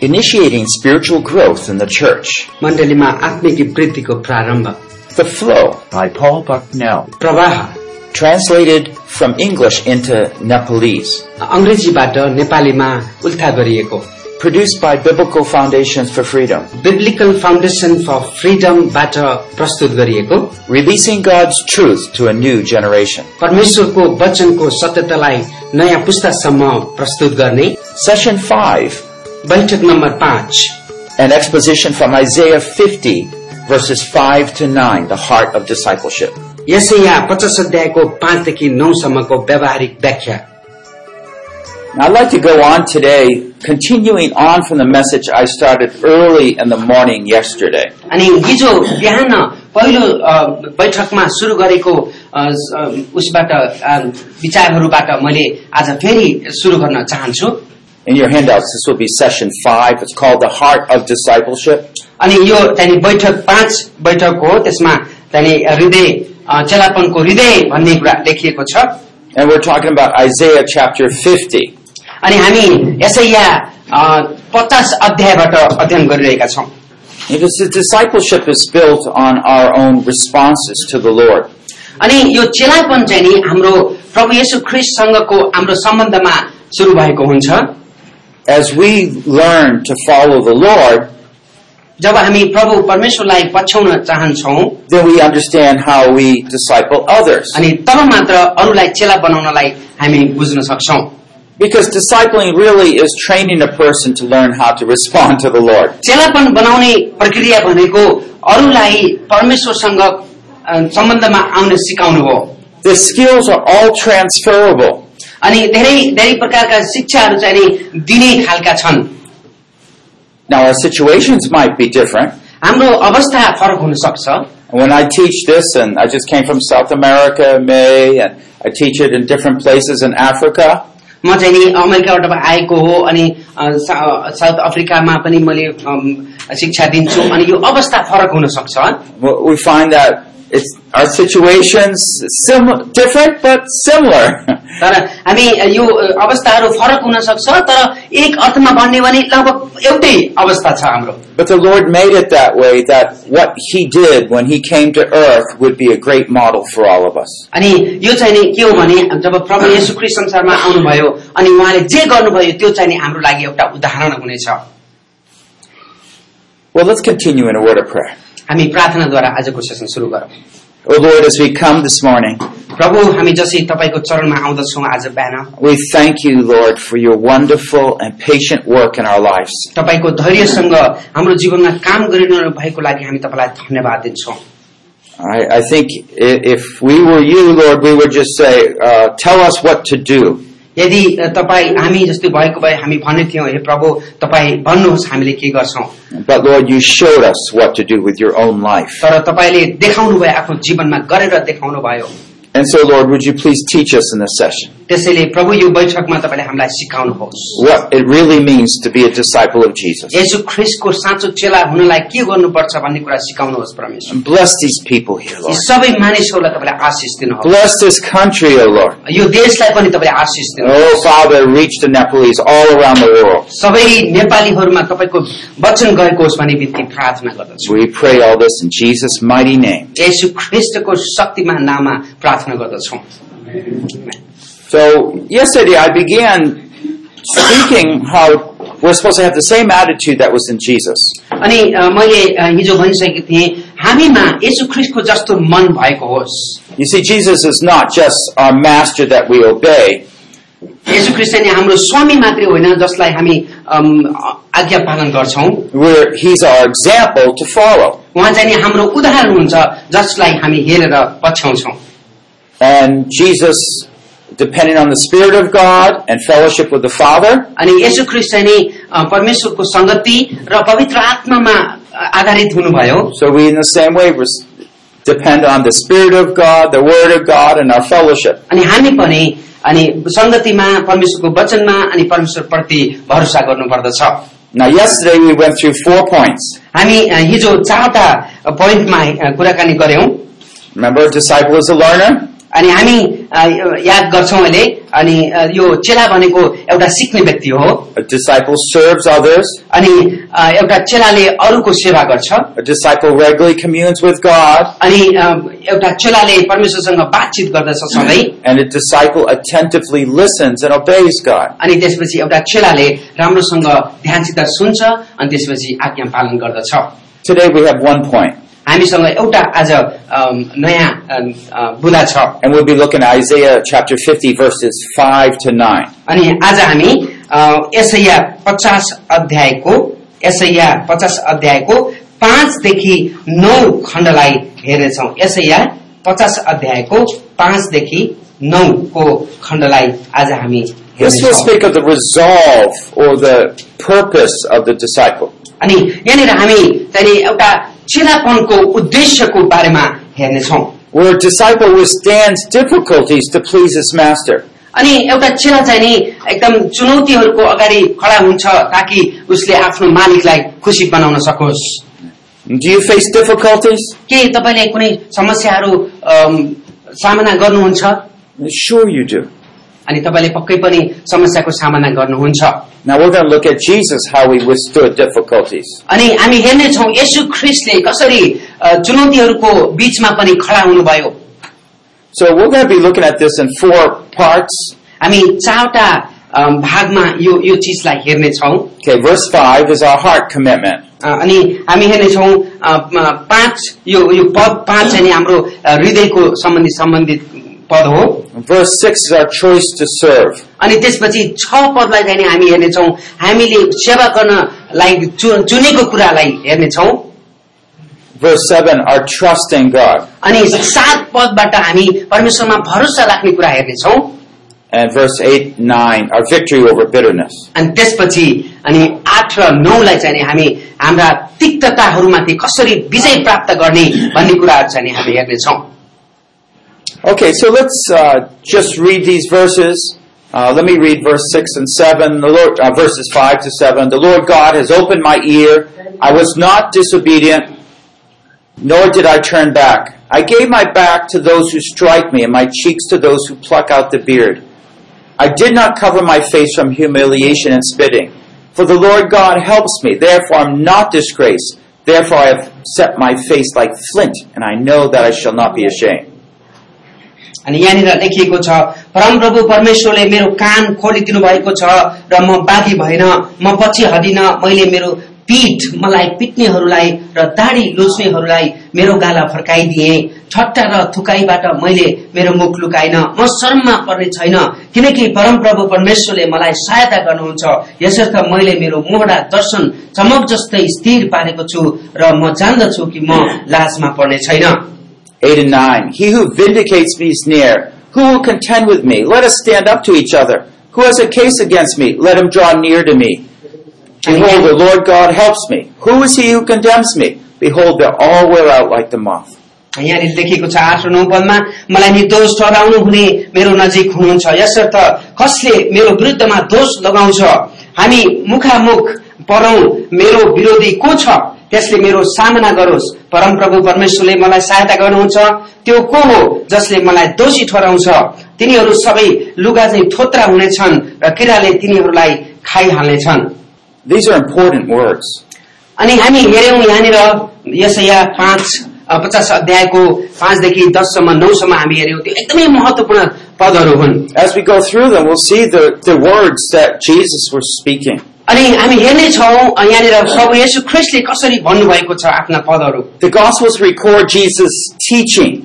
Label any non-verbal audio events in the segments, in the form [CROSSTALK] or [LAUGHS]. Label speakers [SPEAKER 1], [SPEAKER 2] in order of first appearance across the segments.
[SPEAKER 1] initiating spiritual growth in the church,
[SPEAKER 2] मण्डलीमा आत्मिक वृद्धिको प्रारम्भ
[SPEAKER 1] The Flow,
[SPEAKER 3] by Paul Bucknell.
[SPEAKER 2] प्रवाह
[SPEAKER 1] translated from English into Nepalese,
[SPEAKER 2] अङ्ग्रेजीबाट नेपालीमा उल्था गरिएको
[SPEAKER 1] produced by Biblical Foundations for Freedom,
[SPEAKER 2] Biblical Foundation for फ्रिडमबाट प्रस्तुत गरिएको
[SPEAKER 1] releasing God's truth to a new generation.
[SPEAKER 2] परमेश्वरको वचनको सत्यतालाई नयाँ पुस्तासम्म प्रस्तुत गर्ने
[SPEAKER 1] Session 5,
[SPEAKER 2] बैठक नम्बर पाँच
[SPEAKER 1] an exposition from Isaiah 50, verses 5 to 9, the heart of discipleship.
[SPEAKER 2] यसै यहाँ पचास अध्यायको पाँचदेखि नौसम्मको व्यावहारिक व्याख्या
[SPEAKER 1] Now, I'd like to go on today, continuing on from the message I started early in the morning yesterday.
[SPEAKER 2] अनि हिजो बिहान पहिलो अ, बैठकमा सुरु गरेको अ, स- अ, उसबाट अ, विचारहरूबाट मैले आज फेरि सुरु गर्न चाहन्छु
[SPEAKER 1] In your handouts, this will be session 5. It's called The Heart of Discipleship.
[SPEAKER 2] अनि यो त्यहाँदेखि बैठक पाँच बैठक हो त्यसमा त्यहाँदेखि हृदय अ, चेलापनको हृदय भन्ने कुरा लेखिएको छ
[SPEAKER 1] And we're talking about Isaiah chapter 50.
[SPEAKER 2] अनि हामी यसै यहाँ अ, पचास अध्यायबाट अध्ययन गरिरहेका छौँ
[SPEAKER 1] Because the discipleship is built on our own responses to the Lord.
[SPEAKER 2] अनि यो चेलापन चाहिँ नि हाम्रो प्रभु येशू ख्रिस्टसँगको हाम्रो सम्बन्धमा सुरु भएको हुन्छ
[SPEAKER 1] As we learn to follow the Lord,
[SPEAKER 2] जब हामी प्रभु परमेश्वरलाई पछ्याउन चाहन्छौं
[SPEAKER 1] then we understand how we disciple others.
[SPEAKER 2] अनि तब मात्र अरूलाई चेला बनाउनलाई हामी बुझ्न सक्छौं
[SPEAKER 1] Because discipling really is training a person to learn how to respond to the Lord.
[SPEAKER 2] चेलापन बनाउने प्रक्रिया भनेको अरूलाई परमेश्वरसँग अ, सम्बन्धमा आउन सिकाउनु हो
[SPEAKER 1] The skills are all transferable.
[SPEAKER 2] अनि धेरै धेरै प्रकारका शिक्षाहरू चाहिँ नि दिने खालका छन्
[SPEAKER 1] Now, our situations might be different.
[SPEAKER 2] हाम्रो अवस्था फरक हुन सक्छ
[SPEAKER 1] When I teach this, and I just came from South America in May, and I teach it in different places in Africa,
[SPEAKER 2] म चाहिँ नि अमेरिकाबाट आएको हो अनि अ, सा- साउथ अफ्रिकामा पनि मैले अम, शिक्षा दिन्छु अनि यो अवस्था फरक हुन सक्छ
[SPEAKER 1] w- we find that it's, our situations sim- different but similar. [LAUGHS]
[SPEAKER 2] तर हामी यो अ, अवस्थाहरू फरक हुन सक्छ तर एक अर्थमा भन्ने भने लगभग एउटै अवस्था छ हाम्रो
[SPEAKER 1] but the Lord made it that way that what He did when He came to earth would be a great model for all of us.
[SPEAKER 2] अनि यो चाहिँ नि के हो भने जब प्रभु येशू ख्रिस्ट संसारमा आउनुभयो अनि उहाँले जे गर्नुभयो त्यो चाहिँ नि हाम्रो लागि एउटा उदाहरण हुनेछ
[SPEAKER 1] Well, let's continue in a word of prayer.
[SPEAKER 2] हामी प्रार्थनाद्वारा आजको सेसन सुरु गरौँ
[SPEAKER 1] Oh Lord, as we come this morning,
[SPEAKER 2] प्रभु हामी जसरी तपाईँको चरणमा आउँदछौँ आज बिहान
[SPEAKER 1] we thank you, Lord, for your wonderful and patient work in our lives.
[SPEAKER 2] तपाईँको धैर्यसँग हाम्रो जीवनमा काम गरिरहनु भएको लागि हामी तपाईँलाई धन्यवाद दिन्छौँ
[SPEAKER 1] I, I think i- if we were you, Lord, we would just say, uh, tell us what to do.
[SPEAKER 2] यदि अ, तपाईँ हामी जस्तै भएको भए हामी भन्ने थियौँ हे प्रभु तपाईँ भन्नुहोस् हामीले के गर्छौँ
[SPEAKER 1] But Lord, you showed us what to do with your own life.
[SPEAKER 2] तर तपाईँले देखाउनु भयो आफ्नो जीवनमा गरेर देखाउनु भयो
[SPEAKER 1] And so, Lord, would you please teach us in this session
[SPEAKER 2] त्यसैले प्रभु यो बैठकमा तपाईँले हामीलाई सिकाउनुहोस्
[SPEAKER 1] what it really means to be a disciple of Jesus?
[SPEAKER 2] Yesu ख्रिस्टको साँचो चेला हुनलाई के गर्नुपर्छ भन्ने कुरा सिकाउनुहोस् परमेश्वर
[SPEAKER 1] Bless these people here,
[SPEAKER 2] यी
[SPEAKER 1] Lord.
[SPEAKER 2] सबै मानिसहरूलाई तपाईँले आशिष दिनुहोस्
[SPEAKER 1] Bless this country, O Lord.
[SPEAKER 2] यो देशलाई पनि तपाईँले आशिष दिनुहोस्
[SPEAKER 1] Oh, Father, reach the Nepalese all around the world.
[SPEAKER 2] सबै नेपालीहरूमा तपाईँको वचन गएको होस् भन्ने बित्ति प्रार्थना गर्दछु
[SPEAKER 1] We pray all this in Jesus' mighty name.
[SPEAKER 2] Yesu ख्रिस्टको Shaktimaan नाममा प्रार्थना गर्दछौ
[SPEAKER 1] So, yesterday I began speaking how we're supposed to have the same attitude that was in Jesus.
[SPEAKER 2] अनि अ, मैले अ, हिजो भनिसकेको थिएँ हामीमा यसु ख्रिस्टको जस्तो मन भएको होस्
[SPEAKER 1] You see, Jesus is not just our master that we obey,
[SPEAKER 2] यसु ख्रिस्ट नै हाम्रो स्वामी मात्रै होइन जसलाई हामी अम, अ, आज्ञा पालन गर्छौ
[SPEAKER 1] we're, he's our example to follow.
[SPEAKER 2] उहाँ चाहिँ नि हाम्रो उदाहरण हुन्छ जसलाई हामी हेरेर पछ्याउँछौ
[SPEAKER 1] And Jesus, depending on the Spirit of God and fellowship with the Father,
[SPEAKER 2] अनि यसु ख्रिस्ट चाहिँ नि अ, परमेश्वरको सङ्गति र पवित्र आत्मामा अ, आधारित हुनुभयो
[SPEAKER 1] so we in the same way res- depend on the Spirit of God, the Word of God, and our fellowship.
[SPEAKER 2] अनि हामी पनि अनि सङ्गतिमा परमेश्वरको वचनमा अनि परमेश्वर प्रति भरोसा गर्नुपर्दछ
[SPEAKER 1] Now, yesterday we went through four points.
[SPEAKER 2] हामी अ, हिजो चारवटा पोइन्टमा अ, कुराकानी गर्यौं
[SPEAKER 1] Remember, a disciple is a learner,
[SPEAKER 2] अनि हामी अ, याद गर्छौँ अहिले अनि अ, यो चेला भनेको एउटा सिक्ने व्यक्ति हो
[SPEAKER 1] A disciple serves others.
[SPEAKER 2] अनि अ, एउटा चेलाले अरूको सेवा गर्छ
[SPEAKER 1] A disciple regularly communes with God.
[SPEAKER 2] अनि अ, एउटा चेलाले परमेश्वरसँग बातचित गर्दछ सधैँ
[SPEAKER 1] And a disciple attentively listens and obeys God.
[SPEAKER 2] अनि त्यसपछि एउटा चेलाले राम्रोसँग ध्यानसित सुन्छ अनि त्यसपछि आज्ञा पालन गर्दछ
[SPEAKER 1] Today we have one point,
[SPEAKER 2] हामीसँग एउटा आज अम, नयाँ अम, अ, बुला छ
[SPEAKER 1] and we'll be looking at Isaiah chapter 50, verses 5 to 9.
[SPEAKER 2] अनि आज हामी अ, यसैया पचास अध्यायको यसैया पचास अध्यायको पाँचदेखि नौ खण्डलाई हेर्नेछौँ यसैया पचास अध्यायको पाँचदेखि नौको खण्डलाई आज हामी
[SPEAKER 1] This will
[SPEAKER 2] हेर्नेछौँ।
[SPEAKER 1] speak of the resolve or the purpose of the disciple.
[SPEAKER 2] अनि यहाँनिर हामी त्यहाँनिर एउटा चेलापनको उद्देश्यको बारेमा हेर्नेछौँ
[SPEAKER 1] Where a disciple withstands difficulties to please his master.
[SPEAKER 2] अनि एउटा चेला चाहिँ नि एकदम चुनौतीहरूको अगाडि खडा हुन्छ ताकि उसले आफ्नो मालिकलाई खुसी बनाउन सकोस्
[SPEAKER 1] Do you face difficulties?
[SPEAKER 2] के तपाईँले कुनै समस्याहरू अम, सामना गर्नुहुन्छ
[SPEAKER 1] Sure you do.
[SPEAKER 2] अनि तपाईँले पक्कै पनि समस्याको सामना गर्नुहुन्छ
[SPEAKER 1] Now we're going to look at Jesus, how he withstood difficulties.
[SPEAKER 2] अनि हामी हेर्नेछौँ यसु ख्रिस्टले कसरी अ, चुनौतीहरूको बीचमा पनि खडा हुनुभयो
[SPEAKER 1] So we're going to be looking at this in four parts.
[SPEAKER 2] हामी चारवटा अम, भागमा यो यो चिजलाई हेर्नेछौँ
[SPEAKER 1] Okay, verse 5 is our heart commitment.
[SPEAKER 2] अ, अनि हामी हेर्नेछौँ अ, म- पाँच यो यो पद पाँच अनि हाम्रो अ, हृदयको सम्बन्धी सम्बन्धित पद हो
[SPEAKER 1] Verse 6 is our choice to serve.
[SPEAKER 2] अनि त्यसपछि छ पदलाई चाहिँ नि हामी हेर्नेछौँ हामीले सेवा गर्नलाई चु- चुनेको कुरालाई हेर्नेछौँ
[SPEAKER 1] Verse 7, our trust in God.
[SPEAKER 2] अनि सात पदबाट हामी परमेश्वरमा भरोसा राख्ने कुरा हेर्नेछौँ
[SPEAKER 1] And verse 8, 9, our victory over bitterness.
[SPEAKER 2] अनि त्यसपछि अनि आठ र नौलाई चाहिँ नि हामी हाम्रा तिक्तताहरूमाथि कसरी विजय प्राप्त गर्ने भन्ने कुराहरू चाहिँ नि हामी हेर्नेछौँ
[SPEAKER 1] Okay, so let's uh, just read these verses. Uh, let me read verse 6 and 7, the Lord, uh, verses 5 to 7. The Lord God has opened my ear. I was not disobedient, nor did I turn back. I gave my back to those who strike me, and my cheeks to those who pluck out the beard. I did not cover my face from humiliation and spitting. For the Lord God helps me, therefore I'm not disgraced. Therefore I have set my face like flint, and I know that I shall not be ashamed.
[SPEAKER 2] अनि यहाँनिर लेखिएको छ परम प्रभु परमेश्वरले मेरो कान खोलिदिनु भएको छ र म बाधी भएन म पछि हटिन मैले मेरो पीठ मलाई पिट्नेहरूलाई र दाढी लुच्नेहरूलाई मेरो गाला फर्काइदिए ठट्टा र थुकाइबाट मैले मेरो मुख लुकाइन म शर्ममा पर्ने छैन किनकि परमप्रभु परमेश्वरले मलाई सहायता गर्नुहुन्छ यसर्थ मैले मेरो मोहडा दर्शन चमक जस्तै स्थिर पारेको छु र म जान्दछु कि म लाजमा पर्ने छैन
[SPEAKER 1] 8 and 9. He who vindicates me is near. Who will contend with me? Let us stand up to each other. Who has a case against me? Let him draw near to me. Behold, the Lord God helps me. Who is he who condemns me? Behold, they all wear out like the moth.
[SPEAKER 2] यहाँनिर लेखिएको छ आठ र नौ पदमा मलाई निर्दोष ठहराउनु हुने मेरो नजिक हुनुहुन्छ यसर्थ कसले मेरो विरुद्धमा दोष लगाउँछ हामी मुखामुख परौ मेरो विरोधी को छ त्यसले मेरो सामना गरोस् परमप्रभु परमेश्वरले मलाई सहायता गर्नुहुन्छ त्यो को हो जसले मलाई दोषी ठहराउँछ तिनीहरू सबै लुगा चाहिँ थोत्रा हुनेछन् र किराले तिनीहरूलाई खाइहाल्नेछन्
[SPEAKER 1] These are important words.
[SPEAKER 2] अनि हामी हेऱ्यौँ यहाँनिर यसैया पाँच अ, पचास अध्यायको पाँचदेखि दससम्म नौसम्म हामी हेऱ्यौँ त्यो एकदमै महत्वपूर्ण पदहरू हुन्
[SPEAKER 1] As we go through them, we'll see the, the words that Jesus was speaking.
[SPEAKER 2] अनि हामी हेर्नेछौँ अ, यहाँनिर प्रभु येशू ख्रिस्टले कसरी भन्नुभएको छ आफ्ना पदहरू
[SPEAKER 1] The Gospels record Jesus' teaching.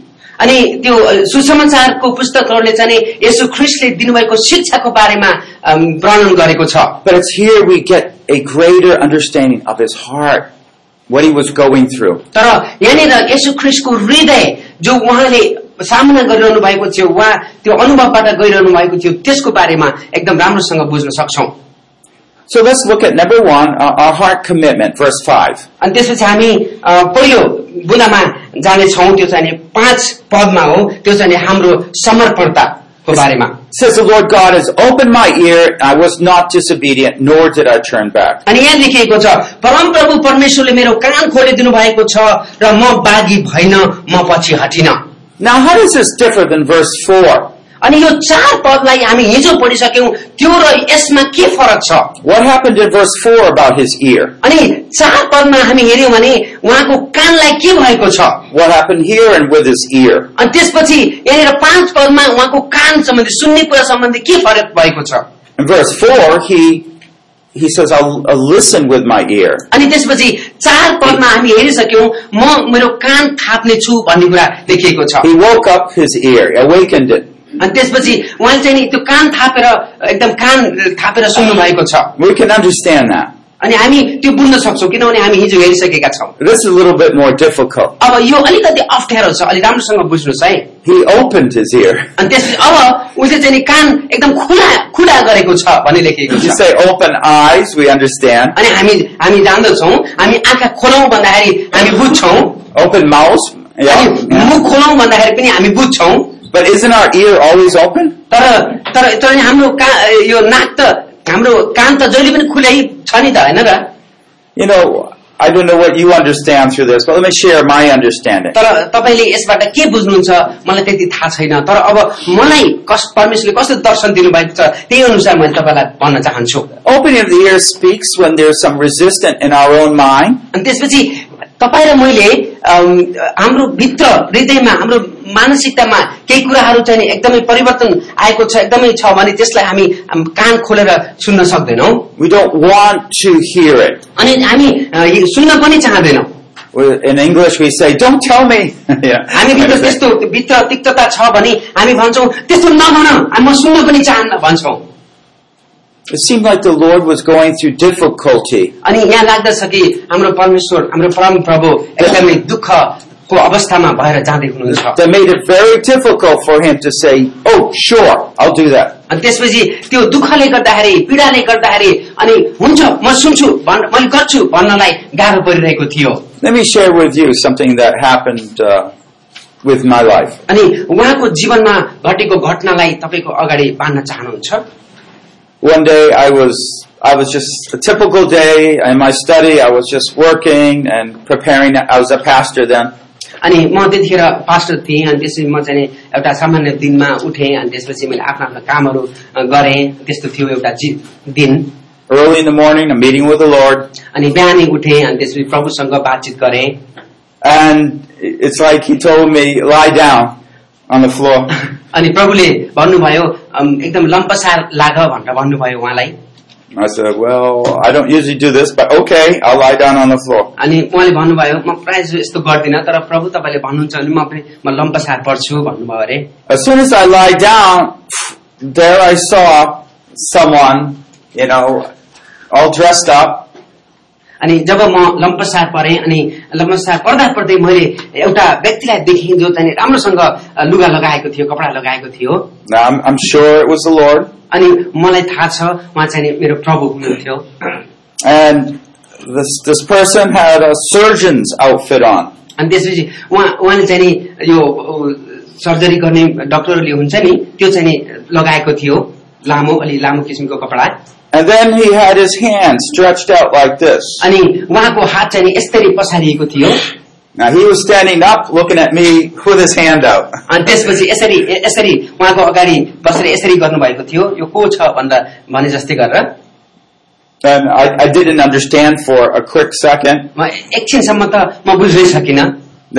[SPEAKER 2] अनि त्यो अ, सुसमाचारको पुस्तकहरूले चाहिँ नि येशू ख्रिस्टले दिनुभएको शिक्षाको बारेमा अम, वर्णन गरेको छ
[SPEAKER 1] But it's here we get a greater understanding of his heart, what he was going through.
[SPEAKER 2] तर यहाँनिर येशू ख्रिस्टको हृदय जो उहाँले सामना गरिरहनु भएको थियो वा त्यो अनुभवबाट गरिरहनु भएको थियो त्यसको बारेमा एकदम राम्रोसँग बुझ्न सक्छौँ
[SPEAKER 1] So let's look at number one, uh, our heart commitment, verse 5.
[SPEAKER 2] अनि त्यसपछि हामी अ, पहिलो बुदामा जानेछौँ त्यो चाहिँ नि पाँच पदमा हो त्यो चाहिँ नि हाम्रो समर्पणताको बारेमा
[SPEAKER 1] It says, The Lord God has opened my ear, I was not disobedient, nor did I turn back.
[SPEAKER 2] अनि यहाँ लेखिएको छ परमप्रभु परमेश्वरले मेरो कान खोलिदिनु भएको छ र म बाघी भएन म पछि हटिन
[SPEAKER 1] Now, how does this differ than verse 4?
[SPEAKER 2] अनि यो चार पदलाई हामी हिजो पढिसक्यौँ त्यो र यसमा के फरक छ
[SPEAKER 1] What happened in verse 4 about his ear?
[SPEAKER 2] अनि चार पदमा हामी हेऱ्यौँ भने उहाँको कानलाई के भएको छ
[SPEAKER 1] What happened here and with his ear?
[SPEAKER 2] अनि त्यसपछि यहाँनिर पाँच पदमा उहाँको कान सम्बन्धी सुन्ने कुरा सम्बन्धी के फरक भएको छ
[SPEAKER 1] In verse 4, he, he says, I'll, I'll listen with my ear.
[SPEAKER 2] अनि त्यसपछि चार पदमा हामी हेरिसक्यौँ म मेरो कान थाप्ने छु भन्ने कुरा देखिएको छ
[SPEAKER 1] He woke up his ear, awakened it.
[SPEAKER 2] अनि त्यसपछि उहाँले चाहिँ नि त्यो कान थापेर एकदम कान थापेर सुन्नु भएको छ
[SPEAKER 1] We can understand that.
[SPEAKER 2] अनि हामी त्यो बुझ्न सक्छौँ किनभने हामी हिजो हेरिसकेका छौँ
[SPEAKER 1] This is a little bit more difficult.
[SPEAKER 2] अब यो अलिकति अप्ठ्यारो छ अलिक राम्रोसँग बुझ्नुहोस् है
[SPEAKER 1] He opened his ear. [LAUGHS]
[SPEAKER 2] अनि त्यसपछि अब उसले चाहिँ नि कान एकदम खुला खुला गरेको छ भन्ने लेखेको
[SPEAKER 1] You
[SPEAKER 2] छ
[SPEAKER 1] say open eyes, we understand.
[SPEAKER 2] अनि हामी हामी जान्दछौँ हामी आँखा खोलौँ भन्दाखेरि हामी बुझ्छौँ
[SPEAKER 1] Open mouth,
[SPEAKER 2] अनि
[SPEAKER 1] yeah.
[SPEAKER 2] मुख खोलौँ भन्दाखेरि पनि हामी बुझ्छौँ
[SPEAKER 1] But isn't our ear always open?
[SPEAKER 2] तर तर तर नि हाम्रो का यो नाक त हाम्रो कान त जहिले पनि खुलै छ नि त होइन र
[SPEAKER 1] You know, I don't know what you understand through this, but let me share my understanding.
[SPEAKER 2] तर तपाईँले यसबाट के बुझ्नुहुन्छ मलाई त्यति थाहा छैन तर अब मलाई कस परमेश्वरले कस्तो दर्शन दिनुभएको छ त्यही अनुसार मैले तपाईँलाई भन्न चाहन्छु
[SPEAKER 1] Opening of the ear speaks when there's some resistance in our own mind.
[SPEAKER 2] अनि त्यसपछि तपाईँ र मैले अम, हाम्रो भित्र हृदयमा हाम्रो मानसिकतामा केही कुराहरू चाहिँ नि एकदमै परिवर्तन आएको छ एकदमै छ भने त्यसलाई हामी अम, कान खोलेर सुन्न सक्दैनौ
[SPEAKER 1] We don't want to hear it.
[SPEAKER 2] अनि हामी अ, यो सुन्न पनि चाहँदैनौँ
[SPEAKER 1] We- In English, we say, "Don't tell me." [LAUGHS] yeah.
[SPEAKER 2] हामी भित्र त्यस्तो भित्र तिक्तता छ भने हामी भन्छौँ त्यस्तो नभन हामी- म सुन्न पनि चाहन्न भन्छौँ
[SPEAKER 1] It seemed like the Lord was going through difficulty.
[SPEAKER 2] अनि यहाँ लाग्दछ कि हाम्रो परमेश्वर हाम्रो परम प्रभु एकदमै दुःखको अवस्थामा भएर जाँदै हुनुहुन्छ
[SPEAKER 1] That made it very difficult for him to say, "Oh, sure, I'll do that."
[SPEAKER 2] अनि त्यसपछि त्यो दुःखले गर्दाखेरि पीडाले गर्दाखेरि अनि हुन्छ म सुन्छु भन्- मैले गर्छु भन्नलाई गाह्रो परिरहेको थियो
[SPEAKER 1] Let me share with you something that happened uh, with my life.
[SPEAKER 2] अनि उहाँको जीवनमा घटेको घटनालाई तपाईँको अगाडि बाँध्न चाहनुहुन्छ
[SPEAKER 1] One day I was I was just a typical day in my study. I was just working and preparing. I was a pastor then.
[SPEAKER 2] अनि म त्यतिखेर पास्टर थिएँ अनि त्यसपछि म चाहिँ नि एउटा सामान्य दिनमा उठेँ अनि त्यसपछि मैले आफ्नो आफ्नो कामहरू अ, गरेँ त्यस्तो थियो एउटा जी- दिन
[SPEAKER 1] Early in the morning, a meeting with the Lord,
[SPEAKER 2] अनि बिहानै उठेँ अनि त्यसपछि प्रभुसँग बातचित गरेँ
[SPEAKER 1] and it's like He told me, "Lie down on the floor." [LAUGHS]
[SPEAKER 2] अनि प्रभुले भन्नुभयो अम, एकदम लम्पसार लाग भनेर भन्नुभयो उहाँलाई
[SPEAKER 1] I said, "Well, I don't usually do this, but okay, I'll lie down on the floor."
[SPEAKER 2] अनि उहाँले भन्नुभयो म प्रायः जसो यस्तो गर्दिनँ तर प्रभु तपाईँले भन्नुहुन्छ भने म पनि म लम्पसार पर्छु भन्नुभयो अरे
[SPEAKER 1] As soon as I lie down, there I saw someone, you know, all dressed up,
[SPEAKER 2] अनि जब म लम्पसार परेँ अनि लम्पसार पर्दा पर्दै मैले एउटा व्यक्तिलाई देखेँ जो चाहिँ राम्रोसँग अ, लुगा लगाएको थियो कपडा लगाएको थियो
[SPEAKER 1] Now, I'm, I'm sure it was the Lord.
[SPEAKER 2] अनि मलाई थाहा छ उहाँ चाहिँ नि मेरो प्रभु हुनुहुन्थ्यो
[SPEAKER 1] And this, this person had a surgeon's outfit on.
[SPEAKER 2] अनि त्यसपछि उहाँ उहाँले चाहिँ नि यो अ, सर्जरी गर्ने डक्टरहरूले हुन्छ नि त्यो चाहिँ नि लगाएको थियो लामो अलि लामो किसिमको कपडा
[SPEAKER 1] And then he had his hand stretched out like this.
[SPEAKER 2] अनि उहाँको हात चाहिँ नि यसरी पसारिएको थियो
[SPEAKER 1] Now he was standing up looking at me with his hand out.
[SPEAKER 2] अनि त्यसपछि यसरी यसरी उहाँको अगाडि बसेर यसरी गर्नुभएको थियो यो को छ भन्दा भने जस्तै गरेर
[SPEAKER 1] And I, I didn't understand for a quick second.
[SPEAKER 2] म एकछिनसम्म त म बुझ्नै सकिनँ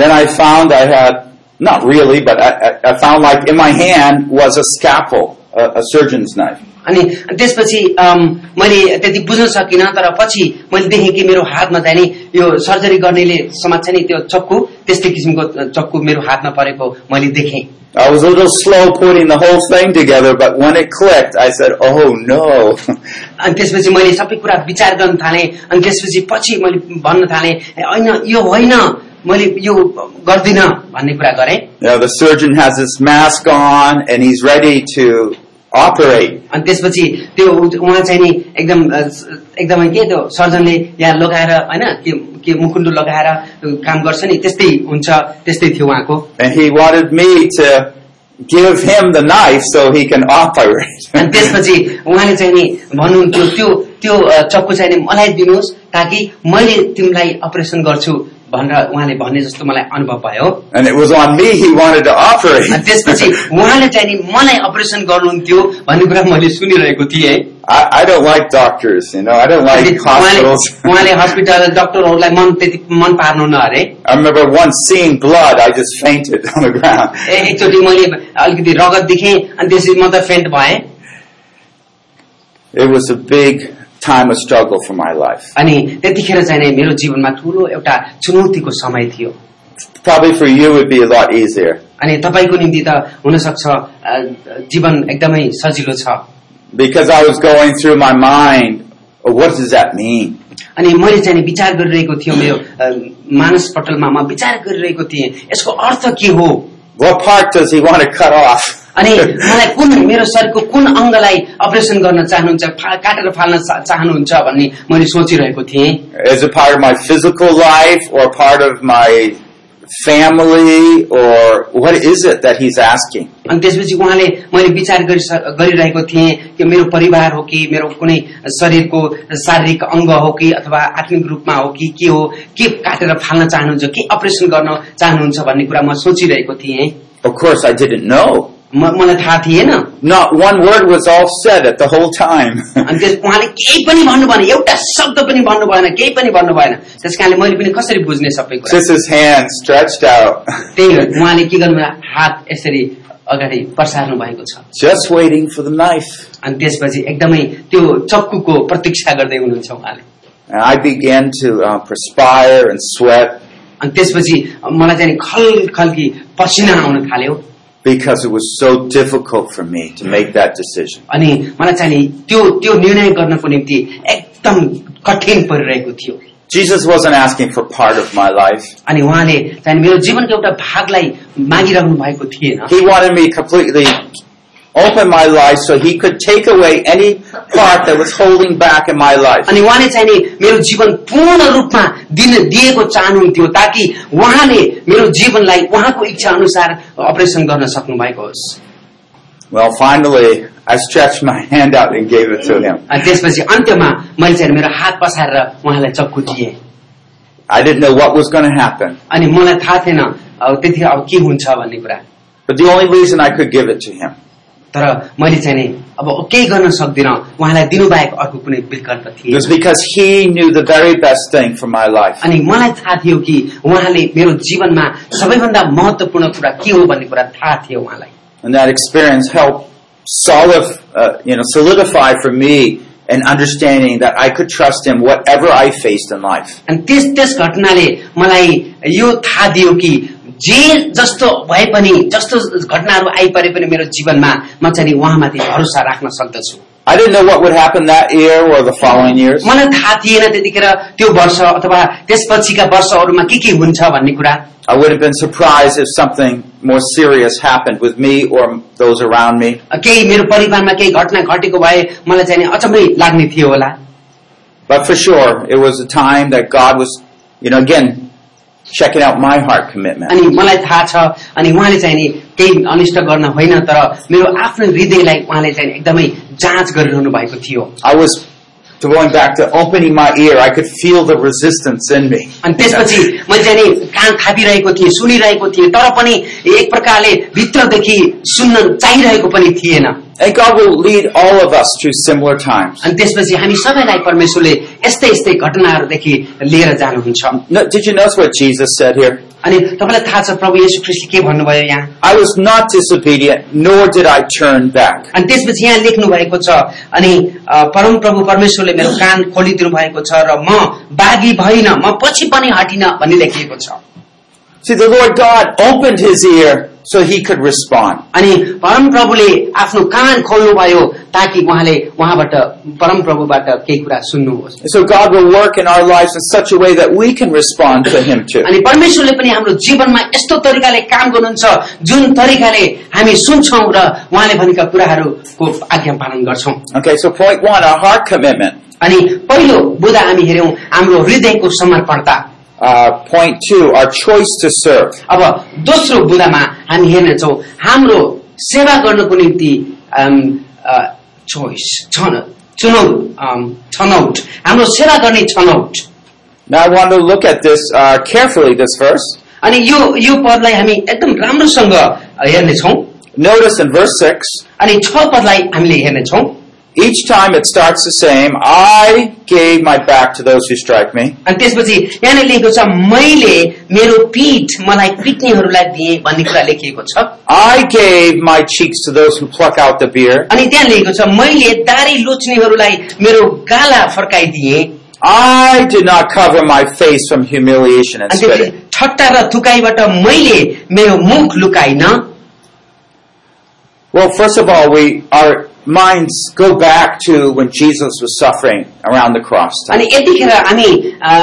[SPEAKER 1] Then I found I had, not really, but I, I- I found like in my hand was a scalpel, a, a surgeon's knife.
[SPEAKER 2] अनि त्यसपछि अम, मैले त्यति बुझ्न सकिनँ तर पछि मैले देखेँ कि मेरो हातमा चाहिँ नि यो सर्जरी गर्नेले समात्छ नि त्यो चक्कु त्यस्तै किसिमको चक्कु मेरो हातमा परेको मैले देखेँ
[SPEAKER 1] I was a little slow putting the whole thing together, but when it clicked, I said, oh no. [LAUGHS]
[SPEAKER 2] अनि त्यसपछि मैले सबै कुरा विचार गर्न थालेँ अनि त्यसपछि पछि मैले भन्न थालेँ होइन यो होइन मैले यो गर्दिनँ भन्ने कुरा गरेँ
[SPEAKER 1] Now the surgeon has his mask on and he's ready to operate.
[SPEAKER 2] अनि त्यसपछि त्यो उ- उहाँ चाहिँ नि एकदम अ, स- एकदमै के त्यो सर्जनले यहाँ लगाएर होइन के के मुखुन्डु लगाएर काम गर्छ नि त्यस्तै हुन्छ त्यस्तै थियो उहाँको
[SPEAKER 1] And he wanted me to give him the knife so he can
[SPEAKER 2] अनि
[SPEAKER 1] operate. [LAUGHS]
[SPEAKER 2] त्यसपछि उहाँले चाहिँ नि भन्नुहुन्थ्यो त्यो त्यो अ, चक्कु चाहिँ नि मलाई दिनुहोस् ताकि मैले तिमीलाई अपरेसन गर्छु भनेर उहाँले भने जस्तो मलाई अनुभव भयो
[SPEAKER 1] And it was on me he wanted to
[SPEAKER 2] अनि
[SPEAKER 1] operate.
[SPEAKER 2] त्यसपछि उहाँले चाहिँ नि मलाई अपरेसन गर्नुहुन्थ्यो भन्ने कुरा मैले सुनिरहेको थिएँ
[SPEAKER 1] I, I don't like doctors, you know, I don't like
[SPEAKER 2] अनि उहाँले
[SPEAKER 1] hospitals. [LAUGHS]
[SPEAKER 2] उहाँले हस्पिटल डाक्टरहरूलाई मन त्यति मन पार्नुहुन्न अरे
[SPEAKER 1] I remember once seeing blood, I just fainted [LAUGHS] on the ground.
[SPEAKER 2] ए- एकचोटि मैले अलिकति रगत देखेँ अनि त्यसपछि म त फेन्ट भएँ
[SPEAKER 1] It was a big time of struggle for my life.
[SPEAKER 2] अनि त्यतिखेर चाहिँ नि मेरो जीवनमा ठुलो एउटा चुनौतीको समय थियो
[SPEAKER 1] Probably for you it would be a lot easier
[SPEAKER 2] अनि तपाईँको निम्ति त हुनसक्छ अ, जीवन एकदमै सजिलो छ
[SPEAKER 1] because I was going through my mind, "Oh, what does that mean?
[SPEAKER 2] अनि मैले चाहिँ नि विचार गरिरहेको थिएँ मेरो अ, मानस पटलमा म विचार गरिरहेको थिएँ यसको अर्थ के हो
[SPEAKER 1] What part does he want to cut off?
[SPEAKER 2] अनि मलाई कुन मेरो शरीरको कुन अङ्गलाई अपरेसन गर्न चाहनुहुन्छ फा- काटेर फाल्न चा- चाहनुहुन्छ भन्ने मैले सोचिरहेको थिएँ
[SPEAKER 1] Is it part of my physical life or part of my family or what is it that he's asking?
[SPEAKER 2] अनि त्यसपछि उहाँले मैले विचार गरिस- गरिरहेको थिएँ कि मेरो परिवार हो कि मेरो कुनै शरीरको शारीरिक अङ्ग हो कि अथवा आत्मिक रूपमा हो कि के हो के काटेर फाल्न चाहनुहुन्छ के अपरेसन गर्न चाहनुहुन्छ भन्ने कुरा म सोचिरहेको थिएँ
[SPEAKER 1] Of course, I didn't know.
[SPEAKER 2] म- मलाई थाहा थिएन
[SPEAKER 1] Not one word was all said at the whole time. [LAUGHS]
[SPEAKER 2] अनि त्यस उहाँले केही पनि भन्नु भएन एउटा शब्द पनि भन्नु भएन केही पनि भन्नु भएन त्यस कारणले मैले पनि कसरी बुझ्ने सबै कुरा
[SPEAKER 1] Just his hand stretched out, [LAUGHS]
[SPEAKER 2] त्यही हो उहाँले के गर्नु भयो? हात यसरी अगाडि पर्सार्नु भएको छ
[SPEAKER 1] just waiting for the knife.
[SPEAKER 2] अनि त्यसपछि एकदमै त्यो चक्कुको प्रतीक्षा गर्दै हुनुहुन्छ उहाँले
[SPEAKER 1] And I began to uh, perspire and sweat
[SPEAKER 2] अनि त्यसपछि मलाई चाहिँ नि खल खल्की पसिना आउन थाल्यो
[SPEAKER 1] because it was so difficult for me to make that decision.
[SPEAKER 2] अनि मलाई चाहिँ नि त्यो त्यो निर्णय गर्नको निम्ति एकदम कठिन परिरहेको थियो
[SPEAKER 1] Jesus wasn't asking for part of my life.
[SPEAKER 2] अनि उहाँले चाहिँ नि मेरो जीवनको एउटा भागलाई मागिरहनु भएको थिएन
[SPEAKER 1] He wanted me completely open my life so he could take away any part that was holding back in my life.
[SPEAKER 2] अनि उहाँले चाहिँ नि मेरो जीवन पूर्ण रूपमा दिन दिएको चाहनुहुन्थ्यो ताकि उहाँले मेरो जीवनलाई उहाँको इच्छा अनुसार अपरेसन गर्न सक्नु भएको होस्
[SPEAKER 1] Well, finally, I stretched my [LAUGHS] hand out and gave it to him.
[SPEAKER 2] अनि त्यसपछि अन्त्यमा मैले चाहिँ मेरो हात पसारेर उहाँलाई चक्कु दिएँ
[SPEAKER 1] I didn't know what was going to happen,
[SPEAKER 2] अनि मलाई थाहा थिएन अब त्यतिखेर अब के हुन्छ भन्ने कुरा
[SPEAKER 1] but the only reason I could give it to him
[SPEAKER 2] तर मैले चाहिँ नि अब केही गर्न सक्दिनँ उहाँलाई दिनुबाहेक अर्को कुनै विकल्प थिएन
[SPEAKER 1] was because he knew the very best thing for my life.
[SPEAKER 2] अनि मलाई थाहा थियो कि उहाँले मेरो जीवनमा सबैभन्दा महत्वपूर्ण कुरा के हो भन्ने कुरा थाहा थियो उहाँलाई
[SPEAKER 1] And that experience helped solid, uh, you know, solidify for me an understanding that I could trust him whatever I faced in life.
[SPEAKER 2] अनि त्यस त्यस घटनाले मलाई यो थाहा दियो कि जे जस्तो भए पनि जस्तो घटनाहरू आइपरे पनि मेरो जीवनमा म चाहिँ नि उहाँमाथि भरोसा राख्न सक्दछु
[SPEAKER 1] I didn't know what would happen that year or the following years.
[SPEAKER 2] मलाई थाहा थिएन त्यतिखेर त्यो वर्ष अथवा त्यसपछिका वर्षहरूमा के के हुन्छ भन्ने कुरा
[SPEAKER 1] I would have been surprised if something more serious happened with me or those around me.
[SPEAKER 2] केही मेरो परिवारमा केही घटना घटेको भए मलाई चाहिँ नि अचम्मै लाग्ने थियो होला
[SPEAKER 1] But for sure, it was a time that God was, you know, again, checking out my heart commitment.
[SPEAKER 2] अनि मलाई थाहा छ अनि उहाँले चाहिँ नि केही अनिष्ट गर्न होइन तर मेरो आफ्नो हृदयलाई उहाँले चाहिँ नि एकदमै जाँच गरिरहनु भएको थियो
[SPEAKER 1] I was going back to opening my ear. I could feel the resistance in me.
[SPEAKER 2] अनि त्यसपछि मैले चाहिँ नि कान थापिरहेको थिएं सुनिरहेको थिएँ तर पनि एक प्रकारले भित्रदेखि सुन्न चाहिरहेको पनि थिएन
[SPEAKER 1] And God will lead all of us through similar times.
[SPEAKER 2] अनि त्यसपछि हामी सबैलाई परमेश्वरले यस्तै यस्तै घटनाहरूदेखि लिएर जानुहुन्छ
[SPEAKER 1] No, did you notice what Jesus said here?
[SPEAKER 2] अनि तपाईँलाई थाहा छ प्रभु येशू ख्रिस्टले के भन्नुभयो यहाँ
[SPEAKER 1] I was not disobedient, nor did I turn back.
[SPEAKER 2] अनि त्यसपछि यहाँ लेख्नु भएको छ अनि अ, परम प्रभु परमेश्वरले मेरो कान खोलिदिनु भएको छ र म बाघी भइन म पछि पनि हटिन भन्ने लेखिएको छ
[SPEAKER 1] See, the Lord God opened his ear so he could respond.
[SPEAKER 2] अनि परम प्रभुले आफ्नो कान खोल्नुभयो ताकि उहाँले उहाँबाट परम प्रभुबाट केही कुरा सुन्नुहोस्
[SPEAKER 1] And so God will work in our lives in such a way that we can respond to Him too.
[SPEAKER 2] अनि परमेश्वरले पनि हाम्रो जीवनमा यस्तो तरिकाले काम गर्नुहुन्छ जुन तरिकाले हामी सुन्छौँ र उहाँले भनेका कुराहरूको आज्ञा पालन गर्छौँ
[SPEAKER 1] Okay, so point one, our heart commitment.
[SPEAKER 2] अनि पहिलो बुधा हामी हेऱ्यौँ हाम्रो हृदयको समर्पणता
[SPEAKER 1] Uh, point two, our choice to serve.
[SPEAKER 2] अब दोस्रो बुधामा हामी हेर्नेछौँ हाम्रो सेवा गर्नको निम्ति चोइस छनौट अम, छनौट हाम्रो सेवा गर्ने छनौट
[SPEAKER 1] Now I want to look at this uh, carefully, this verse.
[SPEAKER 2] अनि यो यो पदलाई हामी एकदम राम्रोसँग हेर्नेछौँ
[SPEAKER 1] Notice in verse 6,
[SPEAKER 2] अनि छ पदलाई हामीले हेर्नेछौँ
[SPEAKER 1] each time it starts the same, I gave my back to those who strike me.
[SPEAKER 2] अनि त्यसपछि यहाँनिर लेखेको छ मैले मेरो पीठ मलाई पिट्नेहरूलाई दिएँ भन्ने कुरा लेखिएको छ
[SPEAKER 1] I gave my cheeks to those who pluck out the beard.
[SPEAKER 2] अनि त्यहाँ लेखेको छ मैले दारी लोच्नेहरूलाई मेरो गाला फर्काइदिएँ
[SPEAKER 1] I did not cover my face from humiliation and
[SPEAKER 2] अनि त्यसपछि
[SPEAKER 1] spitting.
[SPEAKER 2] ठट्टा र थुकाइबाट मैले मेरो मुख लुकाइन
[SPEAKER 1] Well, first of all, we our minds go back to when Jesus was suffering around the cross.
[SPEAKER 2] अनि यतिखेर हामी अ,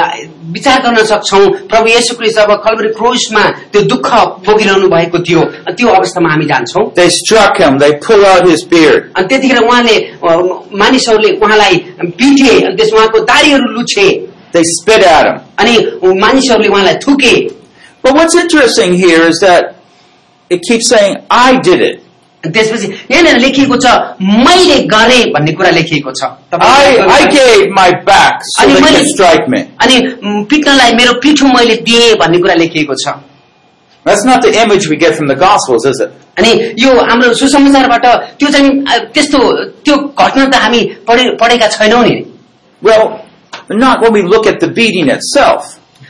[SPEAKER 2] विचार गर्न सक्छौ प्रभु येशू क्रिस्ट अब कलवरी क्रोसमा त्यो दुःख भोगिरहनु भएको थियो त्यो अवस्थामा हामी जान्छौँ
[SPEAKER 1] They struck him. They pulled out his beard.
[SPEAKER 2] अनि त्यतिखेर उहाँले अ, मानिसहरूले उहाँलाई पिटे अनि त्यसमा उहाँको दारीहरू लुछे
[SPEAKER 1] They spit at him.
[SPEAKER 2] अनि मानिसहरूले उहाँलाई थुके
[SPEAKER 1] But what's interesting here is that it keeps saying, "I did it.
[SPEAKER 2] अनि त्यसपछि यहाँनिर लेखिएको छ मैले गरे भन्ने कुरा लेखिएको छ
[SPEAKER 1] I
[SPEAKER 2] तपाईँलाई-
[SPEAKER 1] I gave my back so
[SPEAKER 2] And
[SPEAKER 1] they
[SPEAKER 2] when-
[SPEAKER 1] could strike me."
[SPEAKER 2] अनि म, पिट्नलाई मेरो पिठो मैले दिएँ भन्ने कुरा लेखिएको छ
[SPEAKER 1] That's not the image we get from the Gospels, is it?
[SPEAKER 2] अनि यो हाम्रो सुसमाचारबाट त्यो चाहिँ अ, त्यस्तो त्यो घटना त हामी पढे पढेका छैनौँ नि
[SPEAKER 1] Well, not when we look at the beating itself.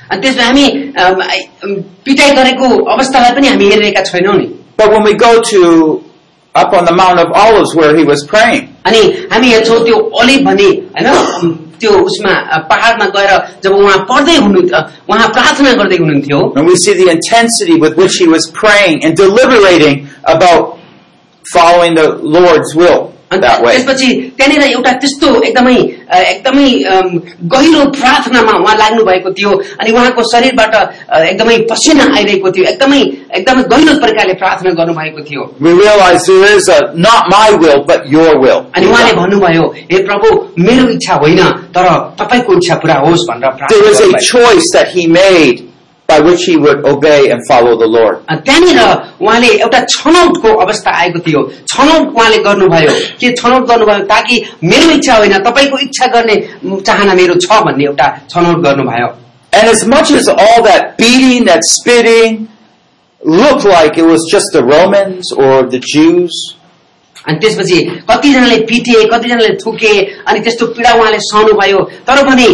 [SPEAKER 2] अनि त्यसमा हामी अम, आइ- अम, पिटाइ गरेको अवस्थालाई पनि हामी हेरिरहेका छैनौँ नि
[SPEAKER 1] But when we go to up on the Mount of Olives where he was praying,
[SPEAKER 2] अनि हामी हेर्छौँ त्यो अलिभ भने होइन अम, त्यो उसमा अ, पहाडमा गएर जब उहाँ पढ्दै हुनु अ, उहाँ प्रार्थना गर्दै हुनुहुन्थ्यो
[SPEAKER 1] and we see the intensity with which he was praying and deliberating about following the Lord's will
[SPEAKER 2] अनि
[SPEAKER 1] that way.
[SPEAKER 2] त्यसपछि त्यहाँनिर एउटा त्यस्तो एकदमै अ, एकदमै अम, गहिरो प्रार्थनामा उहाँ लाग्नु भएको थियो अनि उहाँको शरीरबाट अ, एकदमै पसिना आइरहेको थियो एकदमै एकदमै गहिरो प्रकारले प्रार्थना गर्नुभएको थियो
[SPEAKER 1] We realize there is a not my will, but your will.
[SPEAKER 2] अनि उहाँले भन्नुभयो हे प्रभु मेरो इच्छा होइन तर तपाईँको इच्छा पूरा होस् भनेर प्रार्थना
[SPEAKER 1] There is a
[SPEAKER 2] गर्नुभयो।
[SPEAKER 1] choice that he made by which he would obey and follow the Lord.
[SPEAKER 2] अनि त्यहाँनिर उहाँले एउटा छनौटको अवस्था आएको थियो छनौट उहाँले गर्नुभयो के छनौट गर्नुभयो ताकि मेरो इच्छा होइन तपाईँको इच्छा गर्ने चाहना मेरो छ भन्ने एउटा छनौट गर्नुभयो
[SPEAKER 1] And as much as all that beating, that spitting looked like it was just the Romans or the Jews,
[SPEAKER 2] अनि त्यसपछि कतिजनाले पिटे कतिजनाले थुके अनि त्यस्तो पीडा उहाँले सहनुभयो तर पनि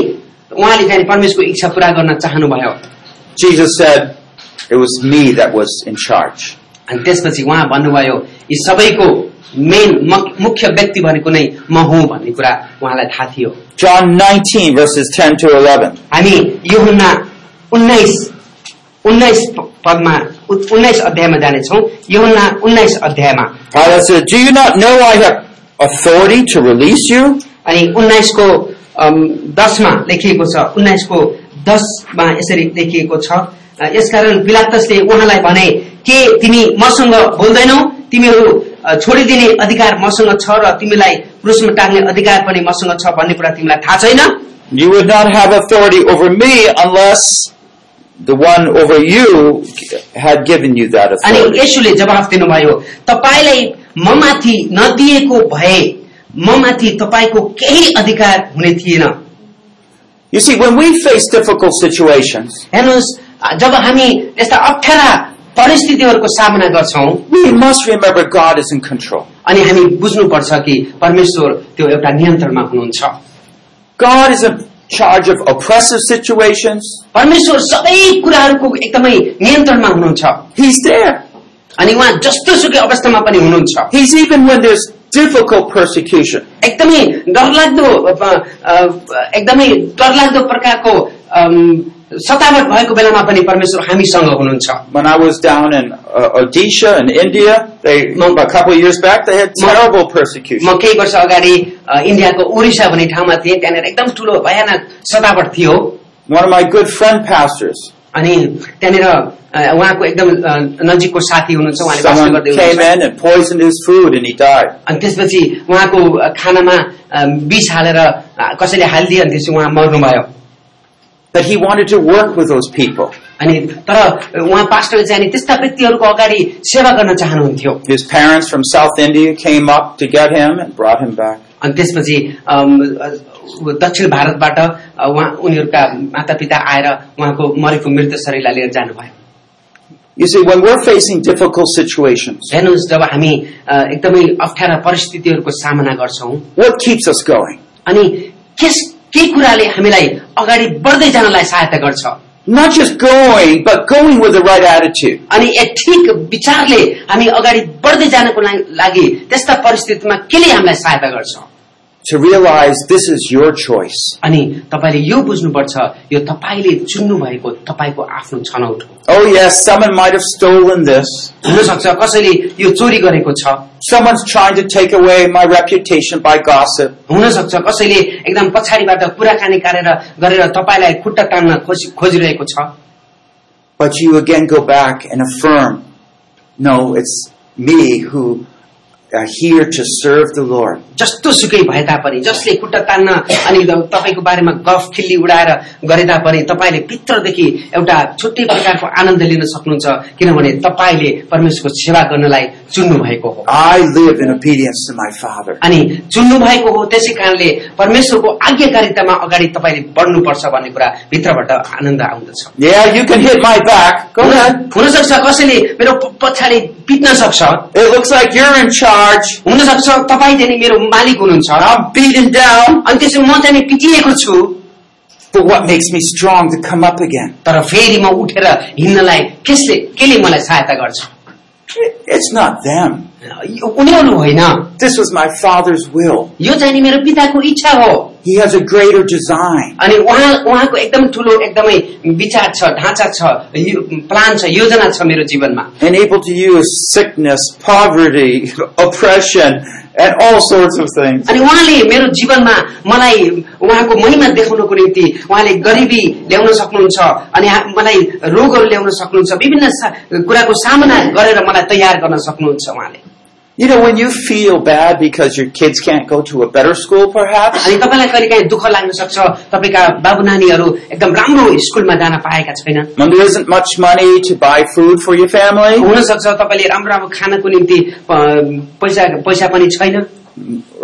[SPEAKER 2] उहाँले चाहिँ परमेश्वरको इच्छा पूरा गर्न चाहनुभयो
[SPEAKER 1] Jesus said, It was me that was in charge.
[SPEAKER 2] अनि त्यसपछि उहाँ भन्नुभयो यी सबैको मेन मुख्य व्यक्ति भनेको नै म हुँ भन्ने कुरा उहाँलाई थाहा थियो
[SPEAKER 1] John 19, verses 10 to 11.
[SPEAKER 2] हामी यो हुन्ना उन्नाइस उन्नाइस पदमा उन्नाइस अध्यायमा जानेछौँ यो हुन्ना उन्नाइस अध्यायमा
[SPEAKER 1] Pilate said, Do you not know I have authority to release you
[SPEAKER 2] अनि उन्नाइसको अम, दसमा लेखिएको छ उन्नाइसको दसमा यसरी लेखिएको छ अ, यसकारण पिलातसले उहाँलाई भने के तिमी मसँग बोल्दैनौ तिमीहरू अ, छोडिदिने अधिकार मसँग छ र तिमीलाई क्रुसमा टाग्ने अधिकार पनि मसँग छ भन्ने कुरा तिमीलाई थाहा छैन
[SPEAKER 1] You would not have authority over me unless the one over you had given you that
[SPEAKER 2] अनि
[SPEAKER 1] authority.
[SPEAKER 2] यसुले जवाफ दिनुभयो तपाईँलाई म माथि नदिएको भए म माथि तपाईँको केही अधिकार हुने थिएन
[SPEAKER 1] You see, when we face difficult situations,
[SPEAKER 2] हेर्नुहोस् अ, जब हामी यस्ता अप्ठ्यारा परिस्थितिहरूको सामना गर्छौँ
[SPEAKER 1] we must remember God is in control.
[SPEAKER 2] अनि हामी बुझ्नुपर्छ कि परमेश्वर त्यो एउटा नियन्त्रणमा हुनुहुन्छ
[SPEAKER 1] God is in charge of oppressive situations.
[SPEAKER 2] परमेश्वर सबै कुराहरूको एकदमै नियन्त्रणमा हुनुहुन्छ
[SPEAKER 1] He's there.
[SPEAKER 2] अनि उहाँ जस्तो सुकै अवस्थामा पनि हुनुहुन्छ
[SPEAKER 1] He's even when there's difficult persecution.
[SPEAKER 2] एकदमै डरलाग्दो अ, अ, एकदमै डरलाग्दो प्रकारको अम, सतावट भएको बेलामा पनि परमेश्वर हामीसँग हुनुहुन्छ
[SPEAKER 1] When I was down in uh, Odisha in India, they
[SPEAKER 2] No.
[SPEAKER 1] a couple of years back they had
[SPEAKER 2] No.
[SPEAKER 1] terrible
[SPEAKER 2] म
[SPEAKER 1] persecution.
[SPEAKER 2] केही वर्ष अगाडि अ, इन्डियाको ओडिसा भन्ने ठाउँमा थिएँ त्यहाँनिर एकदम ठुलो भयानक सतावट थियो
[SPEAKER 1] One of my good friend pastors,
[SPEAKER 2] अनि त्यहाँनिर अ, उहाँको एकदम अ, नजिकको साथी हुनुहुन्छ उहाँले वास
[SPEAKER 1] someone
[SPEAKER 2] गर्दै
[SPEAKER 1] came
[SPEAKER 2] हुनुहुन्छ
[SPEAKER 1] in and poisoned his food and he died.
[SPEAKER 2] अनि त्यसपछि उहाँको खानामा अ, विष हालेर अ, कसैले हालिदियो अनि त्यसपछि उहाँ मर्नुभयो
[SPEAKER 1] But he wanted to work with those people.
[SPEAKER 2] अनि तर उहाँ पास्टरले चाहिँ अनि त्यस्ता व्यक्तिहरूको अगाडि सेवा गर्न चाहनुहुन्थ्यो
[SPEAKER 1] His parents from South India came up to get him and brought him back.
[SPEAKER 2] अनि त्यसपछि अम, दक्षिण भारतबाट अ, उहाँ उनीहरूका मातापिता आएर उहाँको मरेको मृत शरीरलाई लिएर जानुभयो
[SPEAKER 1] You see, when we're facing difficult situations,
[SPEAKER 2] हेर्नुहोस् जब हामी अ, एकदमै अप्ठ्यारा परिस्थितिहरूको सामना गर्छौँ
[SPEAKER 1] what keeps us going?
[SPEAKER 2] अनि केस के कुराले हामीलाई अगाडि बढ्दै जानलाई सहायता गर्छ
[SPEAKER 1] Not just going, but going with the right attitude.
[SPEAKER 2] अनि एक ठिक विचारले हामी अगाडि बढ्दै जानको ला- लागि त्यस्ता परिस्थितिमा केले हामीलाई सहायता गर्छ
[SPEAKER 1] To realize this is your choice.
[SPEAKER 2] अनि तपाईँले यो बुझ्नुपर्छ यो तपाईँले चुन्नु भएको तपाईँको आफ्नो छनौट हो
[SPEAKER 1] Oh yes, someone might have stolen this.
[SPEAKER 2] हुनसक्छ कसैले यो चोरी गरेको छ
[SPEAKER 1] Someone's trying to take away my reputation by gossip.
[SPEAKER 2] हुनसक्छ कसैले एकदम पछाडिबाट कुराकानी गरेर गरेर तपाईँलाई खुट्टा तान्न खोजी खोजिरहेको छ
[SPEAKER 1] But you again go back and affirm, no, it's me who are here to serve the Lord.
[SPEAKER 2] जस्तो सुकै भए तापनि जसले खुट्टा तान्न अनि तपाईँको बारेमा गफ खिल्ली उडाएर गरे तापनि तपाईँले भित्रदेखि एउटा छुट्टै प्रकारको आनन्द लिन सक्नुहुन्छ किनभने तपाईँले परमेश्वरको सेवा गर्नलाई चुन्नु भएको हो
[SPEAKER 1] I live in obedience to my Father.
[SPEAKER 2] अनि चुन्नु भएको हो त्यसै कारणले परमेश्वरको आज्ञाकारितामा अगाडि तपाईँले बढ्नुपर्छ भन्ने कुरा भित्रबाट आनन्द आउँदछ
[SPEAKER 1] Yeah, you can hit my back. Go ahead.
[SPEAKER 2] हुन- हुनसक्छ कसैले मेरो प- पछाडि पिट्न सक्छ
[SPEAKER 1] It looks like you're in charge.
[SPEAKER 2] हुनसक्छ तपाईँ चाहिँ नि मेरो मालिक हुनुहुन्छ
[SPEAKER 1] I'm beaten down.
[SPEAKER 2] अनि त्यसो म चाहिँ नि पिटिएको छु
[SPEAKER 1] But what makes me strong to come up again?
[SPEAKER 2] तर फेरि म उठेर हिँड्नलाई कसले केले मलाई सहायता गर्छ
[SPEAKER 1] It's not them.
[SPEAKER 2] यो उनीहरू होइन
[SPEAKER 1] This was my Father's will.
[SPEAKER 2] यो चाहिँ नि मेरो पिताको इच्छा हो
[SPEAKER 1] He has a greater design.
[SPEAKER 2] अनि उहाँ उहाँको एकदम ठुलो एकदमै विचार छ ढाँचा छ यो- प्लान छ योजना छ मेरो जीवनमा
[SPEAKER 1] and able to use sickness, poverty, [LAUGHS] oppression, and all sorts of things.
[SPEAKER 2] अनि उहाँले मेरो जीवनमा मलाई उहाँको महिमा देखाउनको निम्ति उहाँले गरिबी ल्याउन सक्नुहुन्छ अनि हा- मलाई रोगहरू ल्याउन सक्नुहुन्छ विभिन्न सा- कुराको सामना गरेर मलाई तयार गर्न सक्नुहुन्छ उहाँले
[SPEAKER 1] You know, when you feel bad because your kids can't go to a better school, perhaps,
[SPEAKER 2] अनि तपाईँलाई कहिले काहीँ दुःख लाग्न सक्छ तपाईँका बाबु नानीहरू एकदम राम्रो स्कुलमा जान पाएका छैनन्
[SPEAKER 1] when there isn't much money to buy food for your family,
[SPEAKER 2] हुनसक्छ तपाईँले राम्रो राम्रो खानको निम्ति अ, पैसा पैसा पनि छैन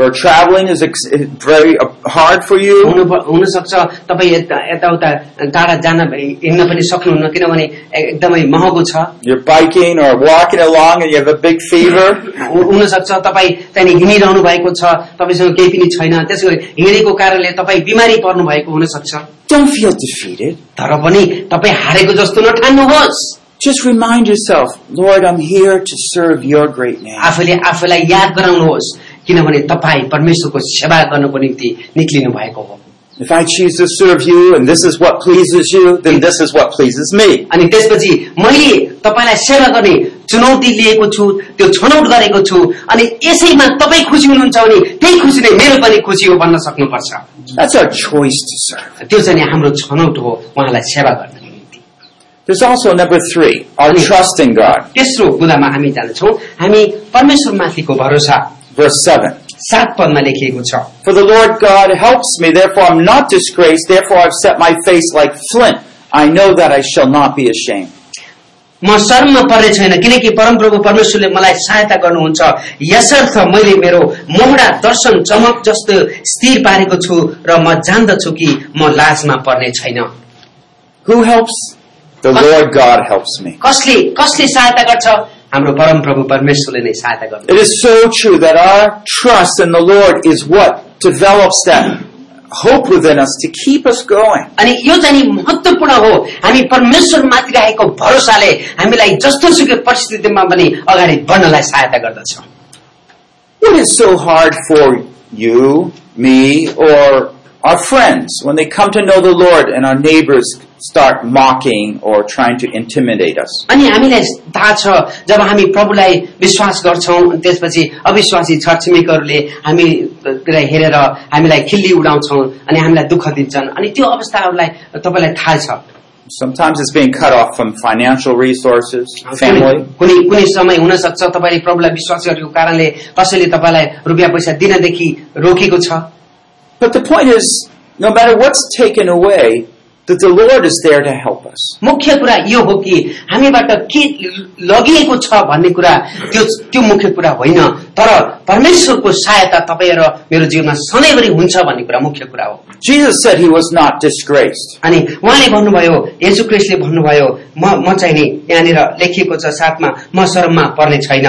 [SPEAKER 1] or traveling is ex- very uh, hard for you,
[SPEAKER 2] हुनु हुनसक्छ तपाईँ यता यताउता टाढा जान हिँड्न पनि सक्नुहुन्न किनभने एकदमै महँगो छ
[SPEAKER 1] you're biking or walking along and you have a big fever,
[SPEAKER 2] हु- हुनसक्छ तपाईँ त्यहाँनिर हिँडिरहनु भएको छ तपाईँसँग केही पनि छैन त्यसो गरी हिँडेको कारणले तपाईँ बिमारी पर्नु भएको हुनसक्छ
[SPEAKER 1] don't feel defeated.
[SPEAKER 2] तर पनि तपाईँ हारेको जस्तो नठान्नुहोस्
[SPEAKER 1] Just remind yourself, Lord, I'm here to serve your great name.
[SPEAKER 2] आफूले आफूलाई याद गराउनुहोस् किनभने तपाईँ परमेश्वरको सेवा गर्नको निम्ति निक्लिनु भएको हो
[SPEAKER 1] If I choose to serve you and this is what pleases you, then this is what pleases me.
[SPEAKER 2] अनि त्यसपछि मैले तपाईँलाई सेवा गर्ने चुनौती लिएको छु त्यो छनौट गरेको छु अनि यसैमा तपाईँ खुसी हुनुहुन्छ भने त्यही खुसी नै मेरो पनि खुसी हो भन्न सक्नुपर्छ
[SPEAKER 1] That's our choice to serve.
[SPEAKER 2] त्यो चाहिँ नि हाम्रो छनौट हो उहाँलाई सेवा गर्नको निम्ति
[SPEAKER 1] There's also number three, our
[SPEAKER 2] Mm.
[SPEAKER 1] trust in God.
[SPEAKER 2] तेस्रो कुरामा हामी जानेछौँ हामी परमेश्वरमाथिको भरोसा
[SPEAKER 1] Verse 7.
[SPEAKER 2] सात पदमा लेखिएको छ
[SPEAKER 1] For the Lord God helps me, therefore I'm not disgraced, therefore I've set my face like flint. I know that I shall not be ashamed.
[SPEAKER 2] म शर्ममा पर्ने छैन किनकि परमप्रभु परमेश्वरले मलाई सहायता गर्नुहुन्छ यसर्थ मैले मेरो मोहडा दर्शन चमक जस्तो स्थिर पारेको छु र म जान्दछु कि म लाजमा पर्ने छैन
[SPEAKER 1] Who helps? The
[SPEAKER 2] Huh?
[SPEAKER 1] Lord God helps me.
[SPEAKER 2] कसले कसले सहायता गर्छ हाम्रो परमप्रभु परमेश्वरले नै सहायता गर्नु
[SPEAKER 1] It is so true that our trust in the Lord is what develops that hope within us to keep us going.
[SPEAKER 2] अनि यो चाहिँ नि महत्वपूर्ण हो हामी परमेश्वरमाथि राखेको भरोसाले हामीलाई जस्तो सुकै परिस्थितिमा पनि अगाडि बढ्नलाई सहायता गर्दछ
[SPEAKER 1] What is so hard for you, me, or our friends when they come to know the Lord and our neighbors start mocking or trying to intimidate us?
[SPEAKER 2] अनि हामीलाई थाहा छ जब हामी प्रभुलाई विश्वास गर्छौँ अनि त्यसपछि अविश्वासी छरछिमेकहरूले हामीलाई हेरेर हामीलाई खिल्ली उडाउँछौँ अनि हामीलाई दुःख दिन्छन् अनि त्यो अवस्थाहरूलाई तपाईँलाई थाहा छ
[SPEAKER 1] Sometimes it's being cut off from financial resources, family.
[SPEAKER 2] कुनै कुनै- कुनै समय हुन सक्छ तपाईँले प्रभुलाई विश्वास गरेको कारणले कसैले तपाईँलाई रुपियाँ पैसा दिनदेखि रोकेको छ
[SPEAKER 1] But the point is, no matter what's taken away, that the Lord is there to help us.
[SPEAKER 2] मुख्य कुरा यो हो कि हामीबाट के लगिएको छ भन्ने कुरा त्यो त्यो मुख्य कुरा होइन तर परमेश्वरको सहायता तपाईँ र मेरो जीवनमा सधैँभरि हुन्छ भन्ने कुरा मुख्य कुरा हो
[SPEAKER 1] Jesus said he was not disgraced.
[SPEAKER 2] अनि उहाँले भन्नुभयो येशू क्रिस्टले भन्नुभयो म म चाहिँ नि यहाँनिर लेखिएको छ साथमा म शरममा पर्ने छैन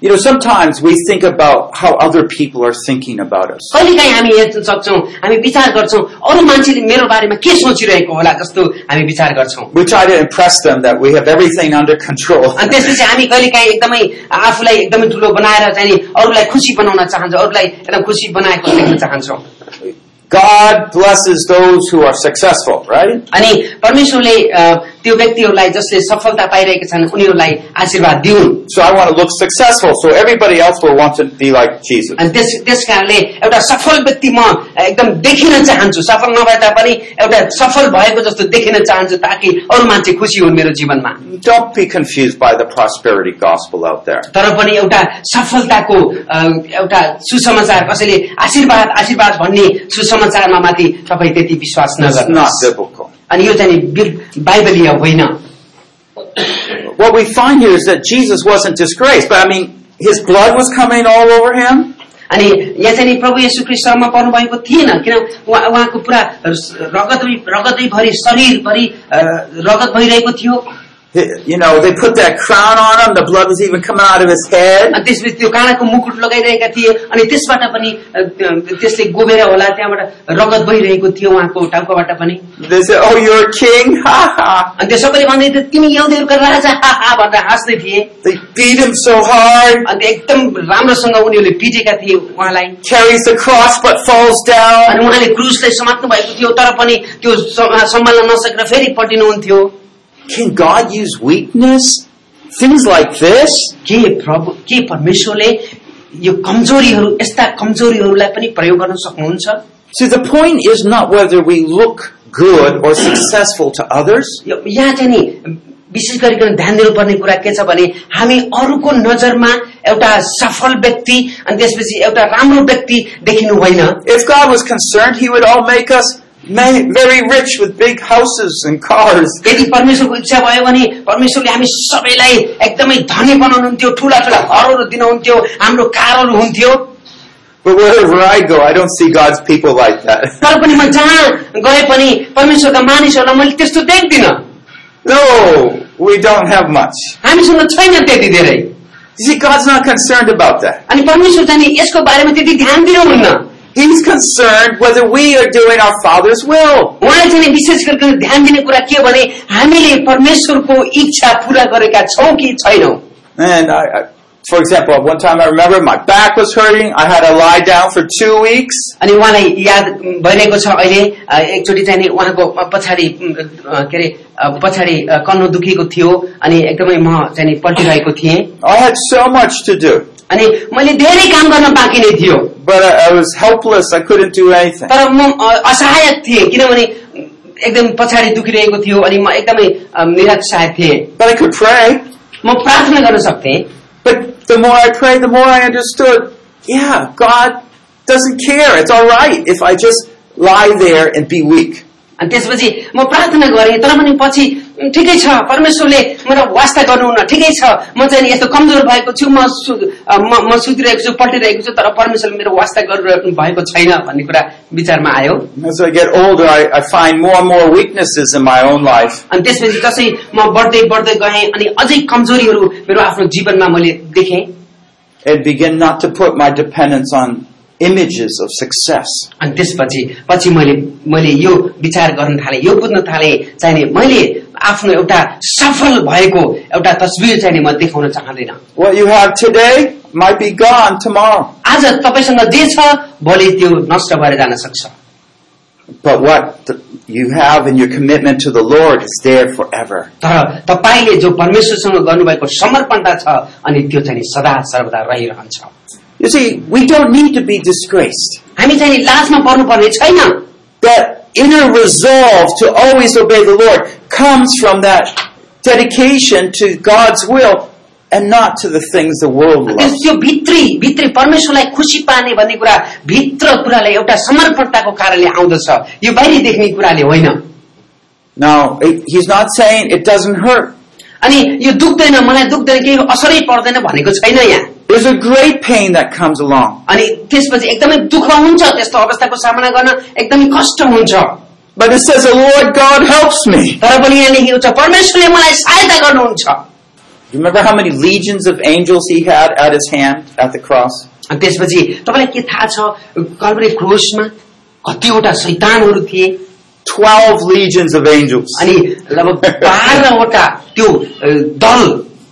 [SPEAKER 1] You know, sometimes we think about how other people are thinking about us.
[SPEAKER 2] कहिलेकाहीँ हामी हेर्न सक्छौँ हामी विचार गर्छौँ अरू मान्छेले मेरो बारेमा के सोचिरहेको होला जस्तो हामी विचार गर्छौँ
[SPEAKER 1] We try to impress them that we have everything under control. [LAUGHS]
[SPEAKER 2] अनि त्यसपछि हामी कहिले काहीँ एकदमै आफूलाई एकदमै ठुलो बनाएर चाहिँ नि अरूलाई खुसी बनाउन चाहन्छौँ अरूलाई एकदम खुसी बनाएको देख्न चाहन्छौँ
[SPEAKER 1] God blesses those who are successful, right?
[SPEAKER 2] अनि परमेश्वरले अ, त्यो व्यक्तिहरूलाई जसले सफलता पाइरहेका छन् उनीहरूलाई आशीर्वाद दिउन्
[SPEAKER 1] So I want to look successful so everybody else will want to be like Jesus.
[SPEAKER 2] अनि त्यस त्यस कारणले एउटा सफल व्यक्ति म एकदम देखिन चाहन्छु सफल नभए तापनि एउटा सफल भएको जस्तो देखिन चाहन्छु ताकि अरू मान्छे खुसी हुन् मेरो जीवनमा
[SPEAKER 1] Don't be confused by the prosperity gospel out there.
[SPEAKER 2] तर पनि एउटा सफलताको अ, एउटा सुसमाचार कसैले आशीर्वाद आशीर्वाद भन्ने सुसमाचारमा माथि तपाईँ त्यति विश्वास
[SPEAKER 1] It's not
[SPEAKER 2] नगर्नुहोस्
[SPEAKER 1] biblical.
[SPEAKER 2] अनि यो चाहिँ नि बिर- बाइबलीय होइन
[SPEAKER 1] What we find here is that Jesus wasn't disgraced, but I mean, his blood was coming all over him.
[SPEAKER 2] अनि यहाँ चाहिँ नि प्रभु येशू ख्रिस्ट शर्मा पर्नु भएको थिएन किन उहाँ उहाँको पुरा रगत रगतैभरि शरीरभरि अ, रगत भइरहेको थियो
[SPEAKER 1] He- You know, they put that crown on him, the blood was even coming out of his head.
[SPEAKER 2] अनि त्यसपछि त्यो काँडाको मुकुट लगाइरहेका थिए अनि त्यसबाट पनि अ, त्यो- त्यसले गोबेर होला त्यहाँबाट रगत भइरहेको थियो उहाँको टाउकोबाट पनि
[SPEAKER 1] They said, Oh, you're a king? [LAUGHS] Ha ha.
[SPEAKER 2] अनि त्यो सबैले भन्दै थियो तिमी यहुदीहरूका राजा [LAUGHS] हा हा भनेर हाँस्दै थिए
[SPEAKER 1] They beat him so hard,
[SPEAKER 2] अनि त्यो एकदम राम्रोसँग उनीहरूले पिटेका थिए उहाँलाई
[SPEAKER 1] carries the cross but falls down.
[SPEAKER 2] अनि उहाँले क्रुसलाई समात्नु भएको थियो तर पनि त्यो सम- सम्हाल्न नसकेर फेरि पल्टिनुहुन्थ्यो
[SPEAKER 1] Can God use weakness? Things like this?
[SPEAKER 2] के प्रभु के परमेश्वरले यो कमजोरीहरू यस्ता कमजोरीहरूलाई पनि प्रयोग गर्न सक्नुहुन्छ
[SPEAKER 1] See, the point is not whether we look good or successful to others.
[SPEAKER 2] यो- यहाँ चाहिँ नि विशेष गरिकन ध्यान दिनुपर्ने कुरा के छ भने हामी अरूको नजरमा एउटा सफल व्यक्ति अनि त्यसपछि एउटा राम्रो व्यक्ति देखिनु होइन
[SPEAKER 1] If God was concerned, He would all make us ma- very rich with big houses and cars.
[SPEAKER 2] यदि परमेश्वरको इच्छा भयो भने परमेश्वरले हामी सबैलाई एकदमै धनी बनाउनुहुन्थ्यो ठुला ठुला घरहरू दिनुहुन्थ्यो हाम्रो कारहरू हुन्थ्यो
[SPEAKER 1] But wherever I go, I don't see God's people like that. [LAUGHS]
[SPEAKER 2] तर पनि म जहाँ गए पनि परमेश्वरका मानिसहरूलाई मैले त्यस्तो देख्दिनँ
[SPEAKER 1] No, we don't have much.
[SPEAKER 2] हामीसँग छैन त्यति धेरै
[SPEAKER 1] You see, God's not concerned about that.
[SPEAKER 2] अनि परमेश्वर जाने यसको बारेमा त्यति ध्यान दिनुहुन्न
[SPEAKER 1] He's concerned whether we are doing our Father's will.
[SPEAKER 2] उहाँले चाहिँ नि विशेष गरिकन ध्यान दिने कुरा के हो भने हामीले परमेश्वरको इच्छा पूरा गरेका छौँ कि छैनौँ
[SPEAKER 1] And I, I, for example, one time I remember my back was hurting. I had to lie down for two weeks.
[SPEAKER 2] अनि उहाँलाई याद भइरहेको छ अहिले अ, एकचोटि चाहिँ नि उहाँको पछाडि उम्, अ, के अरे अ, पछाडि अ, कन्नु दुखेको थियो अनि एकदमै म चाहिँ नि पल्टिरहेको थिएँ
[SPEAKER 1] I had so much to do,
[SPEAKER 2] अनि मैले धेरै काम गर्न बाँकी नै थियो
[SPEAKER 1] but I, I was helpless. I couldn't do anything.
[SPEAKER 2] तर म अ, असहाय थिएँ किनभने एकदम पछाडि दुखिरहेको थियो अनि म एकदमै अ, निराशाय थिएँ
[SPEAKER 1] But I could pray.
[SPEAKER 2] म प्रार्थना गर्न सक्थेँ
[SPEAKER 1] But the more I prayed, the more I understood. Yeah, God doesn't care. It's all right if I just lie there and be weak.
[SPEAKER 2] अनि त्यसपछि म प्रार्थना गरेँ तर पनि पछि "उम्, ठिकै छ परमेश्वरले मलाई वास्ता गर्नुहुन्न ठिकै छ म चाहिँ नि यस्तो कमजोर भएको छु म सु- अ, म- म सुतिरहेको छु पल्टिरहेको छु तर परमेश्वरले मेरो वास्ता गरिरहनु भएको छैन भन्ने कुरा विचारमा आयो
[SPEAKER 1] And As I get older, I, I find more and more weaknesses in my own life.
[SPEAKER 2] अनि त्यसपछि जसै म बढ्दै बढ्दै गएँ अनि अझै कमजोरीहरू मेरो आफ्नो जीवनमा मैले देखेँ
[SPEAKER 1] and begin not to put my dependence on images of success.
[SPEAKER 2] अनि त्यसपछि पछि मैले मैले यो विचार गर्न थालेँ यो बुझ्न थालेँ चाहिने मैले आफ्नो एउटा सफल भएको एउटा तस्विर चाहिने म देखाउन चाहँदैन
[SPEAKER 1] What you have today might be gone tomorrow,
[SPEAKER 2] आज तपाईँसँग जे छ भोलि त्यो नष्ट भएर जान सक्छ
[SPEAKER 1] but what th- you have and your commitment to the Lord is there forever.
[SPEAKER 2] तर तपाईँले जो परमेश्वरसँग गर्नुभएको समर्पणता छ अनि त्यो चाहिँ नि सदा सर्वदा रहिरहन्छ
[SPEAKER 1] You see, we don't need to be disgraced.
[SPEAKER 2] हामी चाहिँ नि लाजमा पर्नुपर्ने छैन
[SPEAKER 1] That inner resolve to always obey the Lord comes from that dedication to God's will and not to the things the world
[SPEAKER 2] त्यो
[SPEAKER 1] loves.
[SPEAKER 2] त्यो भित्री भित्री परमेश्वरलाई खुसी पार्ने भन्ने कुरा भित्र कुराले एउटा समर्पणताको कारणले आउँदछ यो बाहिरी देख्ने कुराले होइन
[SPEAKER 1] Now, it- he's not saying it doesn't hurt.
[SPEAKER 2] अनि यो दुख्दैन मलाई दुख्दैन केही असरै पर्दैन भनेको छैन यहाँ
[SPEAKER 1] There's a great pain that comes along.
[SPEAKER 2] अनि त्यसपछि एकदमै दुःख हुन्छ त्यस्तो अवस्थाको सामना गर्न एकदमै कष्ट हुन्छ
[SPEAKER 1] But it says, the Lord God helps me.
[SPEAKER 2] तर पनि यहाँ लेखेको छ परमेश्वरले मलाई सहायता गर्नुहुन्छ
[SPEAKER 1] You remember how many legions of angels he had at his hand at the cross?
[SPEAKER 2] अनि त्यसपछि तपाईँलाई के थाहा छ कल्परे क्रोसमा कतिवटा शैतानहरू थिए
[SPEAKER 1] Twelve legions of angels.
[SPEAKER 2] अनि लगभग बाह्रवटा त्यो अ, दल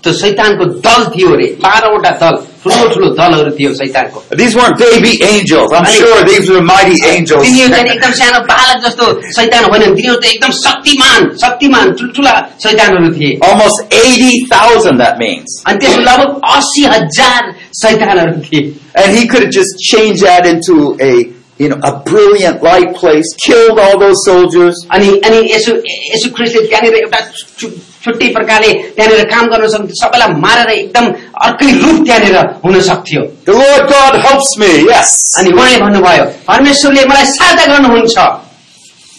[SPEAKER 2] त्यो शैतानको दल थियो अरे बाह्रवटा दल ठुलो ठुलो दलहरू थियो शैतानको
[SPEAKER 1] These weren't baby angels. I'm
[SPEAKER 2] I-
[SPEAKER 1] sure these were mighty angels.
[SPEAKER 2] तिनीहरू चाहिँ एकदम सानो बालक जस्तो शैतान होइनन् तिनीहरू त एकदम शक्तिमान शक्तिमान ठुल्ठुला शैतानहरू थिए
[SPEAKER 1] Almost 80,000, that means.
[SPEAKER 2] अनि त्यसमा लगभग असी हजार शैतानहरू थिए
[SPEAKER 1] And he could have just changed that into a, you know, a brilliant light place, killed all those soldiers.
[SPEAKER 2] अनि अनि यसो यसो ख्रिस्टले त्यहाँनिर एउटा छु- छुट्टै प्रकारले त्यहाँनिर काम गर्न सक्थ्यो सबैलाई मारेर एकदम अर्कै रूप त्यहाँनिर हुन सक्थ्यो
[SPEAKER 1] The Lord God helps me, yes.
[SPEAKER 2] अनि उहाँले भन्नुभयो परमेश्वरले मलाई सहायता गर्नुहुन्छ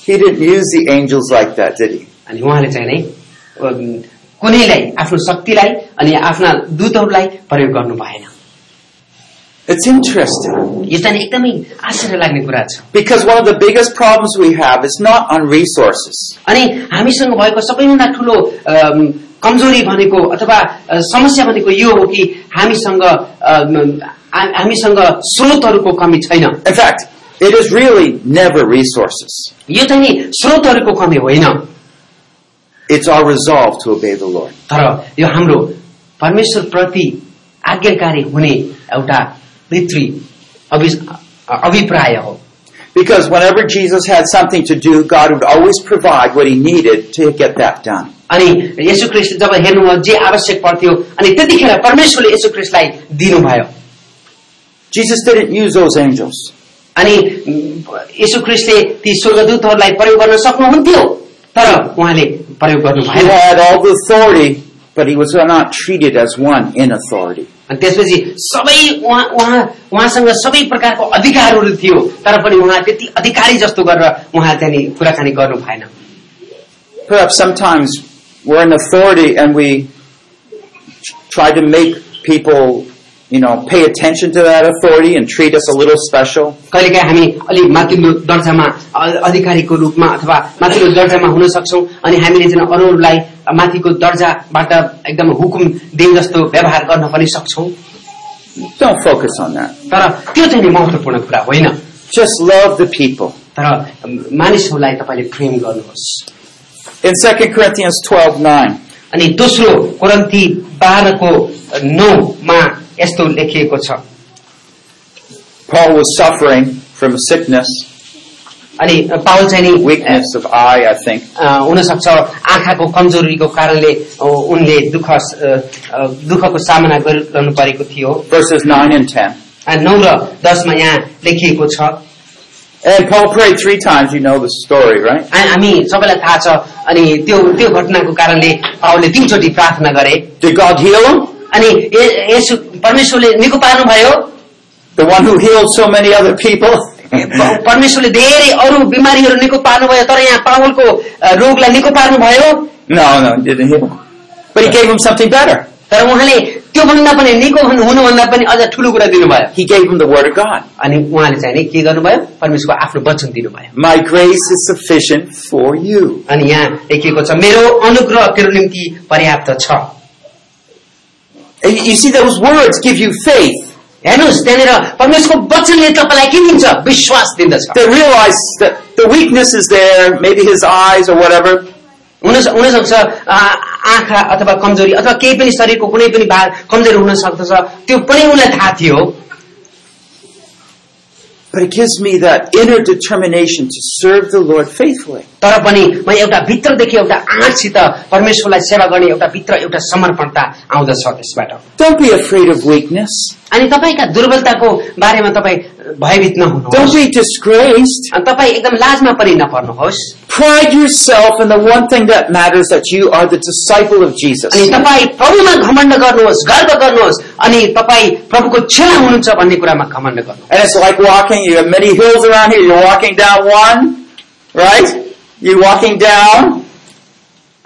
[SPEAKER 1] He didn't use the angels like that, did he?
[SPEAKER 2] अनि उहाँले चाहिँ नै अम, कुनैलाई आफ्नो शक्तिलाई अनि आफ्ना दूतहरूलाई प्रयोग गर्नु भएन
[SPEAKER 1] It's interesting.
[SPEAKER 2] यो चाहिँ एकदमै आश्चर्य लाग्ने कुरा छ
[SPEAKER 1] Because one of the biggest problems we have is not on resources.
[SPEAKER 2] अनि हामीसँग भएको सबैभन्दा ठुलो अम, कमजोरी भनेको अथवा अ, समस्या भनेको यो हो कि हामीसँग अम, हा- हामीसँग स्रोतहरूको कमी छैन
[SPEAKER 1] In fact, it is really never resources.
[SPEAKER 2] यो चाहिँ नि स्रोतहरूको कमी होइन
[SPEAKER 1] It's our resolve to obey the Lord.
[SPEAKER 2] तर यो हाम्रो परमेश्वर प्रति आज्ञाकारी हुने एउटा भित्री अभि- अ- अभिप्राय हो
[SPEAKER 1] Because whenever Jesus had something to do, God would always provide what he needed to get that done.
[SPEAKER 2] अनि यसु ख्रिस्ट जब हेर्नुभयो जे आवश्यक पर्थ्यो अनि त्यतिखेर परमेश्वरले यसु ख्रिस्टलाई दिनुभयो
[SPEAKER 1] Jesus didn't use those angels.
[SPEAKER 2] अनि यसु ख्रिस्टले ती स्वर्गदूतहरूलाई प्रयोग गर्न सक्नुहुन्थ्यो तर उहाँले प्रयोग गर्नु
[SPEAKER 1] He
[SPEAKER 2] भएन
[SPEAKER 1] had all the authority, but he was not treated as one in authority.
[SPEAKER 2] अनि त्यसपछि सबै उहाँ उहाँ उहाँसँग सबै प्रकारको अधिकारहरू थियो तर पनि उहाँ त्यति अधिकारी जस्तो गरेर उहाँ चाहिँ नि कुराकानी गर्नु भएन
[SPEAKER 1] Perhaps sometimes we're in authority and we try to make people, you know, pay attention to that authority and treat us a little special.
[SPEAKER 2] कहिलेकाहीँ हामी अलिक माथिल्लो दर्जामा अ- अधिकारीको रूपमा अथवा माथिल्लो दर्जामा हुन सक्छौँ अनि हामीले चाहिँ अरूहरूलाई माथिको दर्जाबाट एकदम हुकुम दिन जस्तो व्यवहार गर्न पनि सक्छौँ
[SPEAKER 1] Don't focus on that.
[SPEAKER 2] तर त्यो चाहिँ नि महत्वपूर्ण कुरा होइन
[SPEAKER 1] Just love the people.
[SPEAKER 2] तर मानिसहरूलाई तपाईँले प्रेम गर्नुहोस्
[SPEAKER 1] In 2 Corinthians 12, 9,
[SPEAKER 2] अनि दोस्रो कोरन्ती बाह्रको नौमा यस्तो लेखिएको छ
[SPEAKER 1] Paul was suffering from a sickness,
[SPEAKER 2] अनि पावल चाहिँ नि
[SPEAKER 1] weakness of eye, I think.
[SPEAKER 2] अ, हुनसक्छ आँखाको कमजोरीको कारणले अ, उनले दुःख अ, अ, दुःखको सामना गरिरहनु परेको थियो
[SPEAKER 1] Verses 9 and 10.
[SPEAKER 2] अनि नौ र दसमा यहाँ लेखिएको छ
[SPEAKER 1] And Paul prayed three times. You know the story, right?
[SPEAKER 2] आ- हामी सबैलाई थाहा छ अनि त्यो त्यो घटनाको कारणले पावलले तिनचोटि प्रार्थना गरे
[SPEAKER 1] Did God heal him?
[SPEAKER 2] अनि ये- येशु परमेश्वरले निको पार्नुभयो
[SPEAKER 1] The one who healed so many other people?
[SPEAKER 2] प- परमेश्वरले धेरै अरू बिमारीहरू निको पार्नुभयो तर यहाँ पावलको अ, रोगलाई निको पार्नुभयो
[SPEAKER 1] no, no, he didn't heal him. But he gave him something better.
[SPEAKER 2] तर उहाँले त्यो भन्दा पनि निको हुनु- हुनुभन्दा पनि अझ ठुलो कुरा दिनुभयो
[SPEAKER 1] He gave him the word of God.
[SPEAKER 2] अनि उहाँले चाहिँ नि के गर्नुभयो परमेश्वरको आफ्नो वचन दिनुभयो
[SPEAKER 1] My grace is sufficient for you.
[SPEAKER 2] अनि यहाँ लेखिएको छ मेरो अनुग्रह तेरो निम्ति पर्याप्त छ
[SPEAKER 1] And you see, those words give you faith
[SPEAKER 2] हेर्नुहोस् त्यहाँनिर परमेश्वरको वचनले तपाईँलाई के दिन्छ विश्वास दिन्दछ
[SPEAKER 1] that realize that the weakness is there, maybe his eyes or whatever.
[SPEAKER 2] हुन- हुनसक्छ आ- आँखा अथवा कमजोरी अथवा केही पनि शरीरको कुनै पनि भाग कमजोरी हुन सक्दछ त्यो पनि उनलाई थाहा थियो
[SPEAKER 1] But it gives me that inner determination to serve the Lord faithfully.
[SPEAKER 2] तर पनि म एउटा भित्रदेखि एउटा आँटसित परमेश्वरलाई सेवा गर्ने एउटा भित्र एउटा समर्पणता आउँदछ त्यसबाट
[SPEAKER 1] Don't be afraid of weakness.
[SPEAKER 2] अनि तपाईँका दुर्बलताको बारेमा तपाईँ भयभीत
[SPEAKER 1] Don't
[SPEAKER 2] नहुनुहोस्
[SPEAKER 1] be disgraced.
[SPEAKER 2] अनि तपाईँ एकदम लाजमा पनि नपर्नुहोस्
[SPEAKER 1] Pride yourself in the one thing that matters that you are the disciple of Jesus.
[SPEAKER 2] अनि तपाईँ प्रभुमा घमण्ड गर्नुहोस् गर्व गर्नुहोस् अनि तपाईँ प्रभुको चेला हुनुहुन्छ भन्ने कुरामा घमण्ड गर्नुहोस्
[SPEAKER 1] And it's like walking, you have many hills around here, you're walking down one, right? You're walking down,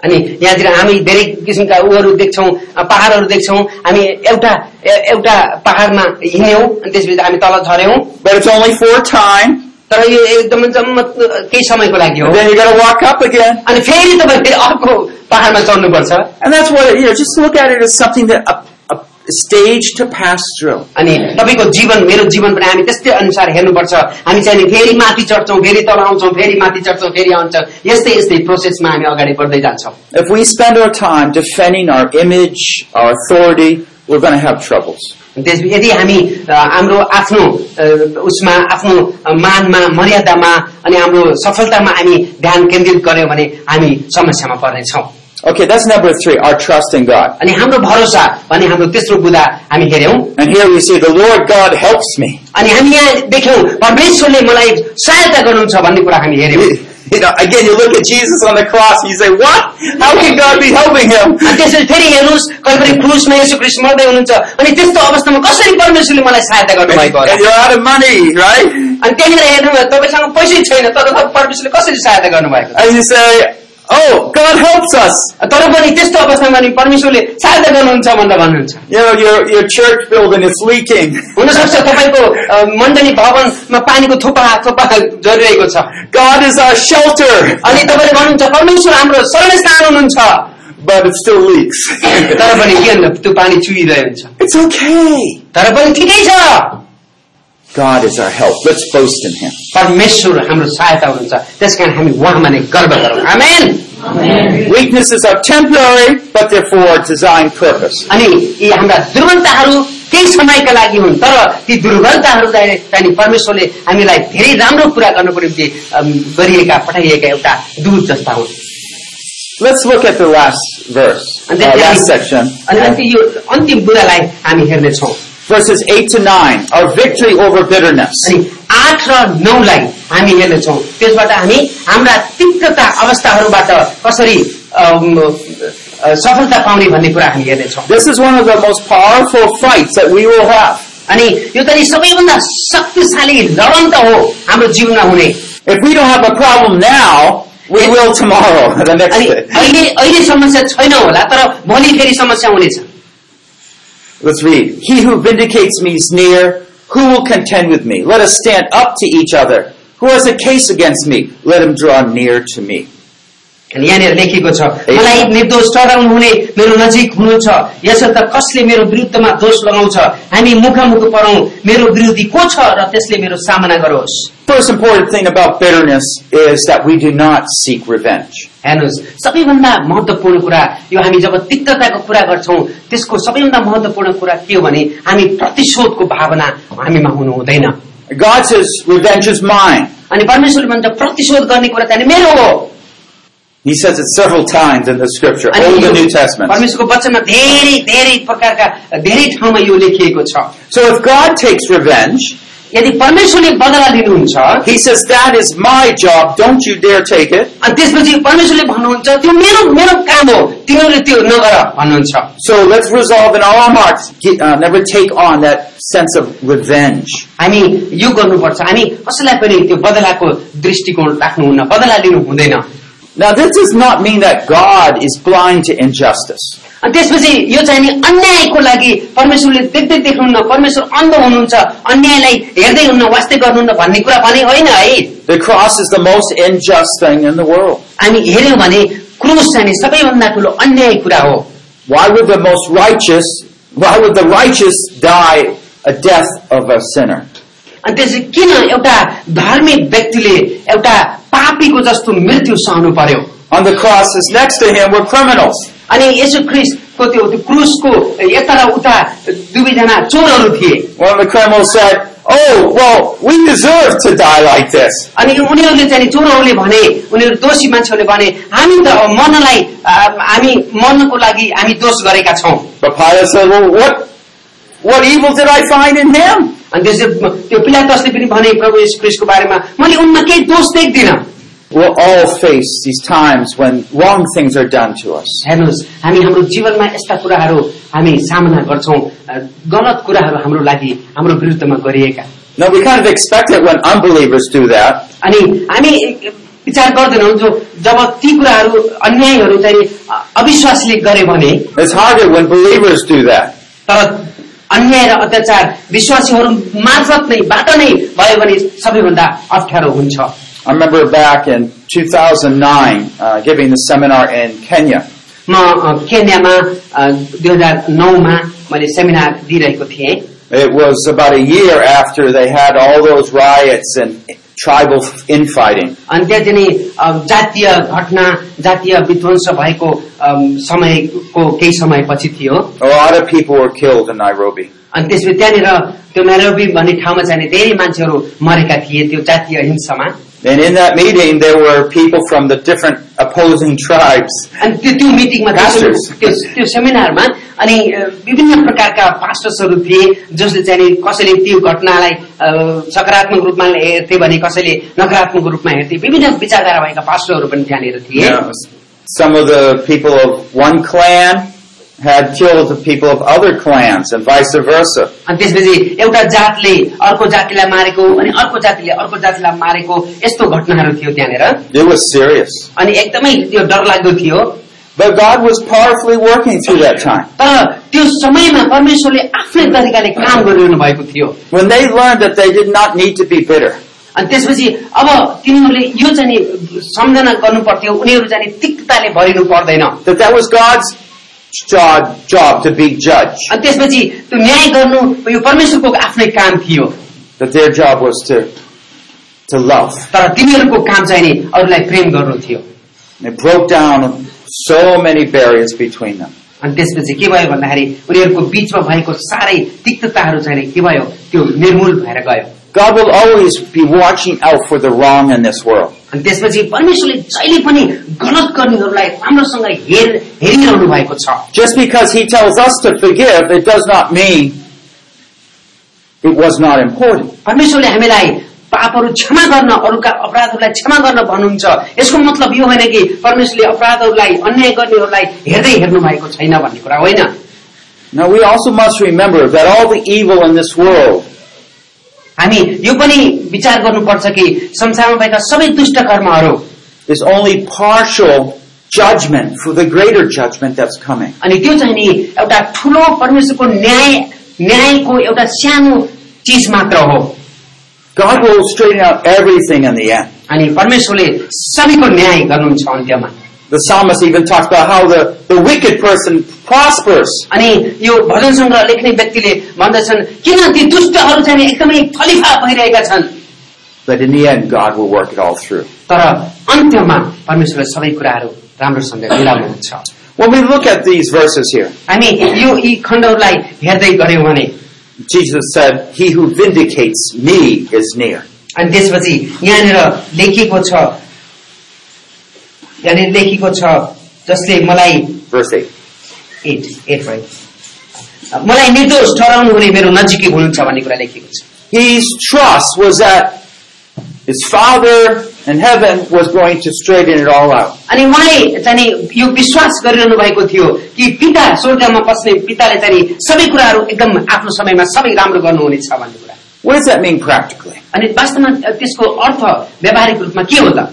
[SPEAKER 2] अनि यहाँतिर हामी धेरै किसिमका उहरू देख्छौँ पहाडहरू देख्छौँ हामी एउटा ए- एउटा पहाडमा हिँड्यौँ अनि त्यसपछि हामी तल झऱ्यौँ
[SPEAKER 1] But it's only for a time,
[SPEAKER 2] तर यो एकदम जम्म केही समयको लागि हो
[SPEAKER 1] and then you got to walk up again.
[SPEAKER 2] अनि फेरि तपाईँ फेरि अर्को पहाडमा चढ्नुपर्छ
[SPEAKER 1] And that's what, you know, just look at it as something that, a, a stage to pass through.
[SPEAKER 2] अनि तपाईँको जीवन मेरो जीवन पनि हामी त्यस्तै अनुसार हेर्नुपर्छ हामी चाहिँ नि फेरि माथि चढ्छौँ फेरि तल आउँछौँ फेरि माथि चढ्छौँ फेरि आउँछौँ यस्तै यस्तै प्रोसेसमा हामी अगाडि बढ्दै जान्छौँ
[SPEAKER 1] If we spend our time defending our image, our authority, we're going to have troubles.
[SPEAKER 2] त्यसपछि यदि हामी अ, हाम्रो आफ्नो अ, उसमा आफ्नो अ, मानमा मर्यादामा अनि हाम्रो सफलतामा हामी ध्यान केन्द्रित गर्यौँ भने हामी समस्यामा पर्नेछौँ
[SPEAKER 1] Okay, that's number three, our trust in God.
[SPEAKER 2] अनि हाम्रो भरोसा भने हाम्रो तेस्रो बुदा हामी हेऱ्यौँ
[SPEAKER 1] And here we see the Lord God helps me. [LAUGHS]
[SPEAKER 2] अनि हामी यहाँ देख्यौँ परमेश्वरले मलाई सहायता गर्नुहुन्छ भन्ने कुरा हामी हेऱ्यौँ
[SPEAKER 1] You you know, again, you look at Jesus on the cross and you say, what? How can God be helping him?
[SPEAKER 2] अनि त्यसपछि फेरि हेर्नुहोस् कहिले पनि क्रुसमा यसो कृष्ण मर्दै हुनुहुन्छ अनि त्यस्तो अवस्थामा कसरी परमेश्वरले मलाई सहायता गर्नुभएको होला
[SPEAKER 1] And you're out of money, right?
[SPEAKER 2] अनि त्यहाँनिर हेर्नुभयो तपाईँसँग पैसै छैन तर त परमेश्वरले कसरी सहायता गर्नुभएको
[SPEAKER 1] And you say, oh, God helps us.
[SPEAKER 2] तर पनि त्यस्तो अवस्थामा पनि परमेश्वरले सहायता गर्नुहुन्छ भनेर भन्नुहुन्छ
[SPEAKER 1] You know, your, your church building is leaking.
[SPEAKER 2] हुनसक्छ तपाईँको अ, मण्डली भवनमा पानीको थोपा थोपा झरिरहेको छ
[SPEAKER 1] God is our shelter,
[SPEAKER 2] अनि तपाईँले भन्नुहुन्छ परमेश्वर हाम्रो शरणस्थान हुनुहुन्छ
[SPEAKER 1] but it still leaks. [LAUGHS]
[SPEAKER 2] तर पनि के भन्नु त्यो पानी चुहिरहेको हुन्छ
[SPEAKER 1] it's okay.
[SPEAKER 2] तर पनि ठिकै छ
[SPEAKER 1] God is our help. Let's boast in him.
[SPEAKER 2] परमेश्वर हाम्रो सहायता हुनुहुन्छ त्यस कारण हामी उहाँमा नै गर्व गरौँ आमेन
[SPEAKER 1] Weaknesses are temporary, but they're for a designed purpose.
[SPEAKER 2] अनि यी हाम्रा दुर्बलताहरू केही समयका लागि हुन् तर ती दुर्बलताहरूलाई चाहिँ नि परमेश्वरले हामीलाई धेरै राम्रो कुरा गर्नको निम्ति अम, गरिएका पठाइएका एउटा दूत जस्ता हुन्
[SPEAKER 1] Let's look at the last verse, uh,
[SPEAKER 2] अनि त्यसपछि
[SPEAKER 1] last
[SPEAKER 2] हामी-
[SPEAKER 1] section.
[SPEAKER 2] अनि अन्ति यो अन्तिम बुढालाई हामी हेर्नेछौँ
[SPEAKER 1] Verses 8 to 9, our victory over bitterness.
[SPEAKER 2] अनि आठ र नौलाई हामी हेर्नेछौँ त्यसबाट हामी हाम्रा तीव्रता अवस्थाहरूबाट कसरी अम, अ, सफलता पाउने भन्ने कुरा हामी हेर्नेछौँ
[SPEAKER 1] This is one of the most powerful fights that we will have.
[SPEAKER 2] अनि यो त नि सबैभन्दा शक्तिशाली लडन त हो हाम्रो जीवनमा हुने
[SPEAKER 1] If we don't have a problem now, we will tomorrow, [LAUGHS] the next
[SPEAKER 2] अनि
[SPEAKER 1] day.
[SPEAKER 2] अहिले अहिले समस्या छैन होला तर भोलि फेरि समस्या हुनेछ
[SPEAKER 1] Let's read. He who vindicates me is near. Who will contend with me? Let us stand up to each other. Who has a case against me? Let him draw near to me.
[SPEAKER 2] अनि यहाँनिर लेखिएको छ
[SPEAKER 1] ए।
[SPEAKER 2] मलाई निर्दोष चढाउनु हुने मेरो नजिक हुनुहुन्छ यसर्थ कसले मेरो विरुद्धमा दोष लगाउँछ हामी मुखामुख परौं मेरो विरोधी को छ र त्यसले मेरो सामना गरोस्
[SPEAKER 1] First important thing about bitterness is that we do not seek revenge.
[SPEAKER 2] हेर्नुहोस् सबैभन्दा महत्वपूर्ण कुरा यो हामी जब तिक्तताको कुरा गर्छौं त्यसको सबैभन्दा महत्वपूर्ण कुरा के हो भने हामी प्रतिशोधको भावना हामीमा हुनु हुँदैन
[SPEAKER 1] God says, revenge is mine.
[SPEAKER 2] अनि परमेश्वरले भन्छ प्रतिशोध गर्ने कुरा चाहिँ मेरो हो
[SPEAKER 1] He says it several times in the scripture,
[SPEAKER 2] अनि
[SPEAKER 1] Old and
[SPEAKER 2] yo
[SPEAKER 1] New Testament.
[SPEAKER 2] परमेश्वरको वचनमा धेरै धेरै प्रकारका धेरै ठाउँमा यो लेखिएको छ
[SPEAKER 1] So if God takes revenge,
[SPEAKER 2] यदि परमेश्वरले बदला लिनुहुन्छ
[SPEAKER 1] He says, That is my job. Don't you dare take it.
[SPEAKER 2] अनि त्यसपछि परमेश्वरले भन्नुहुन्छ त्यो मेरो मेरो काम हो तिमीहरूले त्यो नगर भन्नुहुन्छ
[SPEAKER 1] So let's resolve in all our hearts, get- uh, never take on that sense of revenge.
[SPEAKER 2] हामी यो गर्नुपर्छ हामी कसैलाई पनि त्यो बदलाको दृष्टिकोण राख्नुहुन्न बदला लिनु हुँदैन
[SPEAKER 1] Now, this does not mean that God is blind to injustice.
[SPEAKER 2] अनि त्यसपछि यो चाहिँ नि अन्यायको लागि परमेश्वरले देख्दै देख्नुहुन्न परमेश्वर अन्ध हुनुहुन्छ अन्यायलाई हेर्दै हुन्न वास्तै गर्नुहुन्न भन्ने कुरा भने होइन है
[SPEAKER 1] The cross is the most unjust thing in the world.
[SPEAKER 2] हामी हेऱ्यौँ भने क्रुस चाहिँ नि सबैभन्दा ठुलो अन्याय कुरा हो
[SPEAKER 1] Why would the most righteous, why would the righteous die a death of a sinner?
[SPEAKER 2] अनि त्यसै किन एउटा धार्मिक व्यक्तिले एउटा पापीको जस्तो मृत्यु सहनु पर्यो
[SPEAKER 1] On the cross is next to him were criminals.
[SPEAKER 2] अनि यसो क्रिस्टको त्यो त्यो क्रुसको यता र उता दुवैजना चोरहरू थिए
[SPEAKER 1] One of the criminals said, Oh, well, we deserve to die like this.
[SPEAKER 2] अनि उनीहरूले चाहिँ नि चोरहरूले भने उनीहरू दोषी मान्छेहरूले भने हामी त मर्नलाई आ, हामी मर्नको लागि हामी दोष गरेका छौँ
[SPEAKER 1] But Pilate said, Well, what, what evil did I find in him?
[SPEAKER 2] अनि त्यसै त्यो पिलातसले पनि भने प्रभु यस क्रिस्टको बारेमा मैले उनमा केही दोष देख्दिनँ
[SPEAKER 1] We'll all face these times when wrong things are done to us.
[SPEAKER 2] हेर्नुहोस् हामी हाम्रो जीवनमा यस्ता कुराहरू हामी सामना गर्छौँ अ, गलत कुराहरू हाम्रो लागि हाम्रो विरुद्धमा गरिएका
[SPEAKER 1] Now, we kind of expect it when unbelievers do that,
[SPEAKER 2] अनि हामी विचार गर्दैनौँ जो जब ती कुराहरू अन्यायहरू चाहिँ अविश्वासले गरे भने
[SPEAKER 1] It's harder when believers do that.
[SPEAKER 2] तर अन्याय र अत्याचार विश्वासीहरू मार्फत नै बाट नै भयो भने सबैभन्दा अप्ठ्यारो हुन्छ
[SPEAKER 1] I remember back in 2009 uh, giving the seminar in Kenya,
[SPEAKER 2] म अ, केन्यामा दुई हजार नौमा मैले सेमिनार दिइरहेको थिएँ
[SPEAKER 1] It was about a year after they had all those riots and tribal infighting.
[SPEAKER 2] अनि त्यहाँ चाहिँ नि, अ, जातीय घटना जातीय विध्वंस भएको अम, समयको केही समयपछि थियो
[SPEAKER 1] A lot of people were killed in Nairobi.
[SPEAKER 2] अनि त्यसपछि त्यहाँनिर त्यो नैरोबी भन्ने ठाउँमा चाहिँ नि धेरै मान्छेहरू मरेका थिए त्यो जातीय हिंसामा
[SPEAKER 1] And in that meeting, there were people from the different opposing tribes.
[SPEAKER 2] अनि त्यो त्यो मिटिङमा त्यो
[SPEAKER 1] Pastors.
[SPEAKER 2] त्यो त्यो सेमिनारमा अनि अ, विभिन्न प्रकारका पास्टर्सहरू थिए जसले चाहिँ नि कसैले त्यो घटनालाई अ, सकारात्मक रूपमा हेर्थे भने कसैले नकारात्मक रूपमा हेर्थे विभिन्न विचारधारा भएका पास्टरहरू पनि त्यहाँनिर थिए
[SPEAKER 1] You know, some of the people of one clan had killed the people of other clans and vice versa.
[SPEAKER 2] अनि त्यसपछि एउटा जातले अर्को जातिलाई मारेको अनि अर्को जातिले अर्को जातिलाई मारेको यस्तो घटनाहरू थियो त्यहाँनिर
[SPEAKER 1] It was serious.
[SPEAKER 2] अनि एकदमै त्यो डरलाग्दो थियो
[SPEAKER 1] But God was powerfully working through that time.
[SPEAKER 2] तर त्यो समयमा परमेश्वरले आफ्नै तरिकाले काम गरिरहनु भएको थियो
[SPEAKER 1] When they learned that they did not need to be bitter,
[SPEAKER 2] अनि त्यसपछि अब तिनीहरूले यो चाहिँ नि सम्झना गर्नु पर्थ्यो उनीहरू चाहिँ नि तिक्तताले भरिनु पर्दैन अनि
[SPEAKER 1] that that was God's job, job to be judge.
[SPEAKER 2] त्यसपछि त्यो न्याय गर्नु यो परमेश्वरको आफ्नै काम थियो
[SPEAKER 1] that their job was to to love.
[SPEAKER 2] तर तिनीहरूको काम चाहिँ नि अरूलाई प्रेम गर्नु थियो
[SPEAKER 1] It broke down so many barriers between them.
[SPEAKER 2] अनि त्यसपछि के भयो भन्दाखेरि उनीहरूको बीचमा भएको सारै तिक्तताहरू चाहिँ नि के भयो त्यो निर्मूल भएर गयो
[SPEAKER 1] God will always be watching out for the wrong in this world.
[SPEAKER 2] अनि त्यसपछि परमेश्वरले जहिले पनि गलत गर्नेहरूलाई राम्रोसँग हेर हेरिरहनु भएको छ
[SPEAKER 1] Just because He tells us to forgive, it does not mean it was not important.
[SPEAKER 2] परमेश्वरले हामीलाई पापहरू क्षमा गर्न अरूका अपराधहरूलाई क्षमा गर्न भन्नुहुन्छ यसको मतलब यो होइन कि परमेश्वरले अपराधहरूलाई अन्याय गर्नेहरूलाई हेर्दै हेर्नु भएको छैन भन्ने कुरा होइन
[SPEAKER 1] Now we also must remember that all the evil in this world
[SPEAKER 2] हामी यो पनि विचार गर्नुपर्छ कि संसारमा भएका सबै दुष्ट कर्महरू
[SPEAKER 1] is only partial judgment for the greater judgment that's coming.
[SPEAKER 2] अनि त्यो चाहिँ नि एउटा ठूलो परमेश्वरको न्याय न्यायको एउटा सानो चिज मात्र हो
[SPEAKER 1] God will straighten out everything in the end.
[SPEAKER 2] अनि परमेश्वरले सबैको न्याय गर्नुहुन्छ अन्त्यमा
[SPEAKER 1] The psalmist even talks about how the, the wicked person prospers.
[SPEAKER 2] अनि यो भजन सङ्ग्रह लेख्ने व्यक्तिले भन्दछन् किन ती दुष्टहरू चाहिँ नि एकदमै फलिफा भइरहेका छन्
[SPEAKER 1] But in the end, God will work it all through.
[SPEAKER 2] तर अन्त्यमा परमेश्वरले सबै कुराहरू राम्रोसँग मिलाउनुहुन्छ
[SPEAKER 1] When we look at these verses here,
[SPEAKER 2] हामी यो यी खण्डहरूलाई हेर्दै गऱ्यौँ भने
[SPEAKER 1] Jesus said, He who vindicates me is near.
[SPEAKER 2] अनि त्यसपछि यहाँनिर लेखिएको छ यहाँनिर लेखिएको छ जसले मलाई
[SPEAKER 1] Verse 8.
[SPEAKER 2] एट एट भयो। मलाई निर्दोष ठहराउनु हुने मेरो नजिकै हुनुहुन्छ भन्ने कुरा लेखिएको छ
[SPEAKER 1] His trust was that his Father in heaven was going to straighten it all out.
[SPEAKER 2] अनि उहाँले चाहिँ नि यो विश्वास गरिरहनु भएको थियो कि पिता स्वर्गमा बस्ने पिताले चाहिँ नि सबै कुराहरू एकदम आफ्नो समयमा सबै राम्रो गर्नुहुनेछ भन्ने कुरा
[SPEAKER 1] What does that mean practically?
[SPEAKER 2] अनि वास्तवमा त्यसको अर्थ व्यावहारिक रूपमा के हो त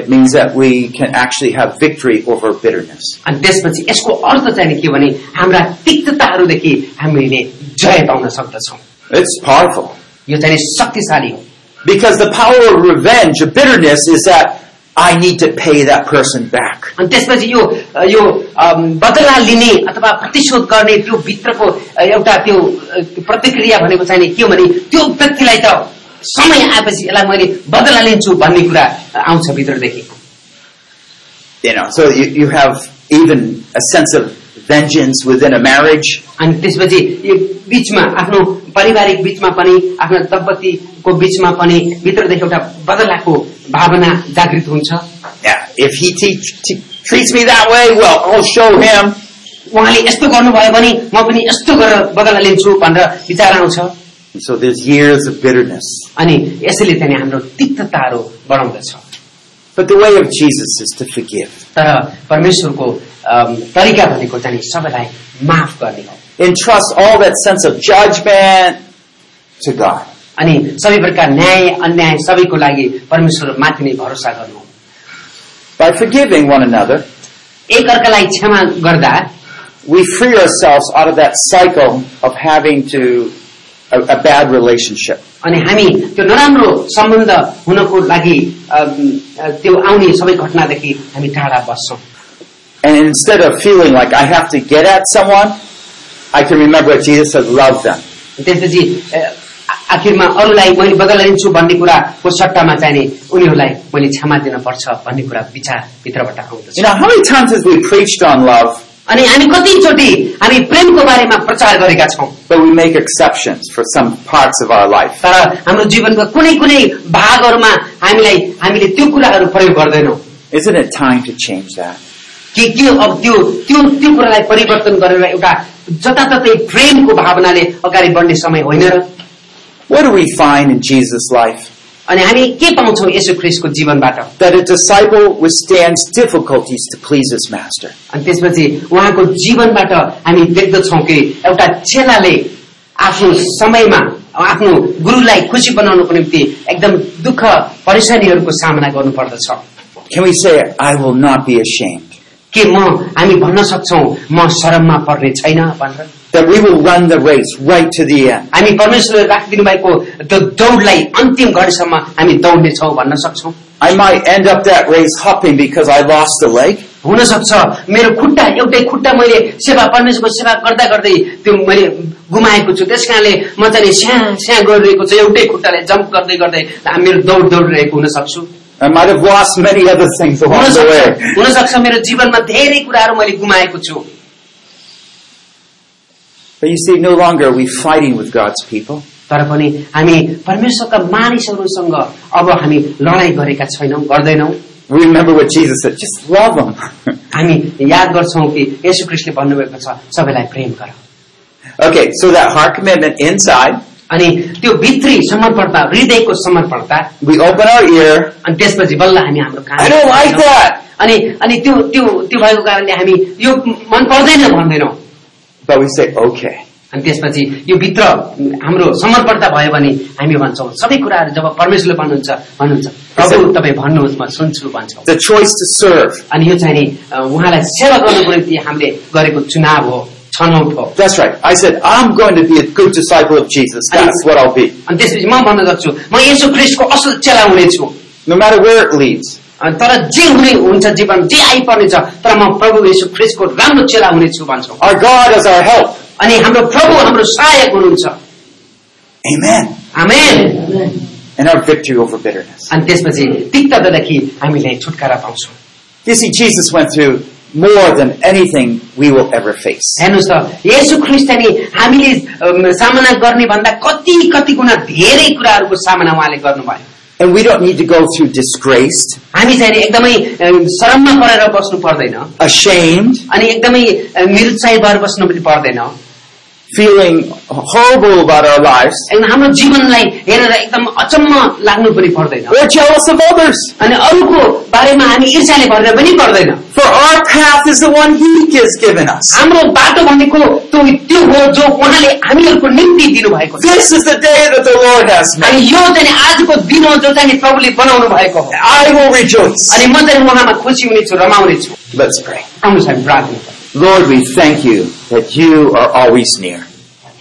[SPEAKER 1] It means that we can actually have victory over bitterness.
[SPEAKER 2] अनि त्यसपछि यसको अर्थ चाहिँ नि के भने हाम्रा तिक्तताहरूदेखि हामीले जय पाउन सक्दछौँ
[SPEAKER 1] It's powerful.
[SPEAKER 2] यो चाहिँ नि शक्तिशाली हो
[SPEAKER 1] Because the power of revenge, of bitterness, is that I need to pay that person back.
[SPEAKER 2] अनि त्यसपछि यो यो अम, बदला लिने अथवा प्रतिशोध गर्ने त्यो भित्रको एउटा त्यो अ, प्रतिक्रिया भनेको चाहिँ नि के हो भने त्यो व्यक्तिलाई त समय आएपछि यसलाई मैले बदला लिन्छु भन्ने कुरा आउँछ भित्रदेखि
[SPEAKER 1] You know, so you, you have even a sense of vengeance within a marriage.
[SPEAKER 2] अनि त्यसपछि यो बीचमा आफ्नो पारिवारिक बीचमा पनि आफ्नो दम्पतिको बीचमा पनि भित्रदेखि एउटा बदलाको भावना जागृत हुन्छ
[SPEAKER 1] Yeah, if he teach, te- treats me that way, well, I'll show him.
[SPEAKER 2] उहाँले यस्तो गर्नुभयो भने म पनि यस्तो गरेर बदला लिन्छु भनेर विचार आउँछ
[SPEAKER 1] And so there's years of bitterness.
[SPEAKER 2] अनि यसैले चाहिँ हाम्रो तिक्तताहरू बढाउँदछ
[SPEAKER 1] But the way of Jesus is to forgive.
[SPEAKER 2] तर परमेश्वरको अम, तरिका भनेको चाहिँ सबैलाई माफ गर्ने हो
[SPEAKER 1] Entrust all that sense of judgment to God.
[SPEAKER 2] अनि सबै प्रकार न्याय अन्याय सबैको लागि परमेश्वर माथि नै भरोसा गर्नु
[SPEAKER 1] By forgiving one another,
[SPEAKER 2] एक अर्कालाई क्षमा गर्दा
[SPEAKER 1] we free ourselves out of that cycle of having to a, a bad relationship.
[SPEAKER 2] अनि हामी त्यो नराम्रो सम्बन्ध हुनको लागि अम, अ, त्यो आउने सबै घटनादेखि हामी टाढा बस्छौँ
[SPEAKER 1] And instead of feeling like I have to get at someone, I can remember that Jesus said, love them.
[SPEAKER 2] त्यसपछि अ, आ- आखिरमा अरूलाई मैले बदलाइदिन्छु भन्ने कुराको सट्टामा चाहिने उनीहरूलाई मैले क्षमा दिनपर्छ भन्ने कुरा विचारभित्रबाट आउँदछ
[SPEAKER 1] You know, how many times have we preached on love,
[SPEAKER 2] अनि हामी कतिचोटि हामी प्रेमको बारेमा प्रचार गरेका छौँ
[SPEAKER 1] but we make exceptions for some parts of our life? Uh,
[SPEAKER 2] तर हाम्रो जीवनका कुनै कुनै भागहरूमा हामीलाई हामीले त्यो कुराहरू प्रयोग गर्दैनौँ
[SPEAKER 1] Isn't it time to change that?
[SPEAKER 2] कि के अब त्यो त्यो त्यो कुरालाई परिवर्तन गरेर एउटा जताततै प्रेमको भावनाले अगाडि बढ्ने समय होइन र
[SPEAKER 1] What do we find in Jesus' life?
[SPEAKER 2] अनि हामी के पाउँछौ यसो ख्रिसको जीवनबाट
[SPEAKER 1] That a disciple withstands difficulties to please his master.
[SPEAKER 2] अनि त्यसपछि उहाँको जीवनबाट हामी देख्दछौ कि एउटा चेलाले आफ्नो समयमा आफ्नो गुरुलाई खुसी बनाउनको निम्ति एकदम दुःख परेसानीहरूको सामना गर्नुपर्दछ
[SPEAKER 1] Can we say, I will not be ashamed?
[SPEAKER 2] के म हामी भन्न सक्छौ म शरममा पर्ने छैन भनेर
[SPEAKER 1] That we will run the race right to the end.
[SPEAKER 2] हामी परमेश्वरले राखिदिनु भएको त्यो दौडलाई अन्तिम घडीसम्म हामी दौड्नेछौँ भन्न सक्छौ
[SPEAKER 1] I might end up that race hopping because I lost a leg,
[SPEAKER 2] हुन सक्छ मेरो खुट्टा एउटै खुट्टा मैले सेवा परमेश्वरको सेवा गर्दा गर्दै त्यो मैले गुमाएको छु त्यस कारणले म चाहिँ नि स्या स्या गरिरहेको छु एउटै खुट्टाले जम्प गर्दै गर्दै मेरो दौड दौडिरहेको हुन सक्छु
[SPEAKER 1] I might have lost many other things
[SPEAKER 2] हुन
[SPEAKER 1] along
[SPEAKER 2] सक्छ
[SPEAKER 1] the way.
[SPEAKER 2] हुन सक्छ मेरो जीवनमा धेरै कुराहरू मैले गुमाएको छु
[SPEAKER 1] But you see, no longer are we fighting with God's people.
[SPEAKER 2] तर पनि हामी परमेश्वरका मानिसहरूसँग अब हामी लडाईँ गरेका छैनौँ गर्दैनौँ
[SPEAKER 1] We remember what Jesus said, just love them.
[SPEAKER 2] हामी याद गर्छौँ कि यसु कृष्णले भन्नुभएको छ सबैलाई प्रेम गर
[SPEAKER 1] [LAUGHS] okay, so that heart commitment inside,
[SPEAKER 2] अनि त्यो भित्री समर्पणता हृदयको समर्पणता
[SPEAKER 1] we open our ear.
[SPEAKER 2] अनि त्यसपछि बल्ल हामी हाम्रो काम
[SPEAKER 1] I don't like that!
[SPEAKER 2] अनि अनि त्यो त्यो त्यो भएको कारणले हामी यो मन पर्दैन भन्दैनौँ
[SPEAKER 1] But we say, okay.
[SPEAKER 2] अनि त्यसपछि यो भित्र हाम्रो समर्पणता भयो भने हामी भन्छौँ सबै कुराहरू जब परमेश्वरले भन्नुहुन्छ भन्नुहुन्छ प्रभु तपाईँ भन्नुहोस् म सुन्छु भन्छौँ
[SPEAKER 1] The choice to serve.
[SPEAKER 2] अनि यो चाहिँ नि अ, उहाँलाई सेवा गर्नुको निम्ति हामीले गरेको चुनाव हो छनौट हो
[SPEAKER 1] That's right. I said, I'm going to be a good disciple of Jesus. That's what I'll be.
[SPEAKER 2] अनि त्यसपछि म भन्न सक्छु म यसो क्रिस्टको असल चेला हुनेछु
[SPEAKER 1] No matter where it leads.
[SPEAKER 2] अनि तर जे हुने हुन्छ जीवन जे आइपर्नेछ तर म प्रभु यसो क्रिस्टको राम्रो चेला हुनेछु भन्छौँ
[SPEAKER 1] Our God is our help.
[SPEAKER 2] अनि हाम्रो प्रभु हाम्रो सहायक हुनुहुन्छ
[SPEAKER 1] Amen.
[SPEAKER 2] Amen
[SPEAKER 1] And our victory over bitterness.
[SPEAKER 2] अनि त्यसपछि तिक्ततादेखि हामीले छुटकारा पाउँछौँ
[SPEAKER 1] You see, Jesus went through more than anything we will ever face.
[SPEAKER 2] हेर्नुहोस् त यसु ख्रिस्टले नि हामीले अम, सामना गर्ने भन्दा कति कति गुणा धेरै कुराहरूको सामना उहाँले गर्नुभयो
[SPEAKER 1] And we don't need to go through disgraced,
[SPEAKER 2] हामी चाहिँ नि एकदमै अम, शरममा परेर बस्नु पर्दैन
[SPEAKER 1] ashamed,
[SPEAKER 2] अनि एकदमै अम, निरुत्साहित भएर बस्नु पनि पर्दैन
[SPEAKER 1] feeling horrible about our lives,
[SPEAKER 2] अनि हाम्रो जीवनलाई हेरेर एकदम अचम्म लाग्नु पनि पर्दैन
[SPEAKER 1] or jealous of others.
[SPEAKER 2] अनि अरूको बारेमा हामी ईर्ष्याले भनेर पनि पर्दैन
[SPEAKER 1] For our path is the one He has given us.
[SPEAKER 2] हाम्रो बाटो भनेको त्यो त्यो हो जो उहाँले हामीहरूको निम्ति दिनुभएको छ
[SPEAKER 1] This is the day that the Lord has made.
[SPEAKER 2] अनि यो चाहिँ नि आजको दिन हो जो चाहिँ नि प्रभुले बनाउनु भएको हो
[SPEAKER 1] I will rejoice.
[SPEAKER 2] अनि म चाहिँ उहाँमा खुसी हुनेछु रमाउनेछु
[SPEAKER 1] Let's pray.
[SPEAKER 2] आउनुहोस् हामी प्रार्थना गरौँ।
[SPEAKER 1] Lord, we thank you that you are always near.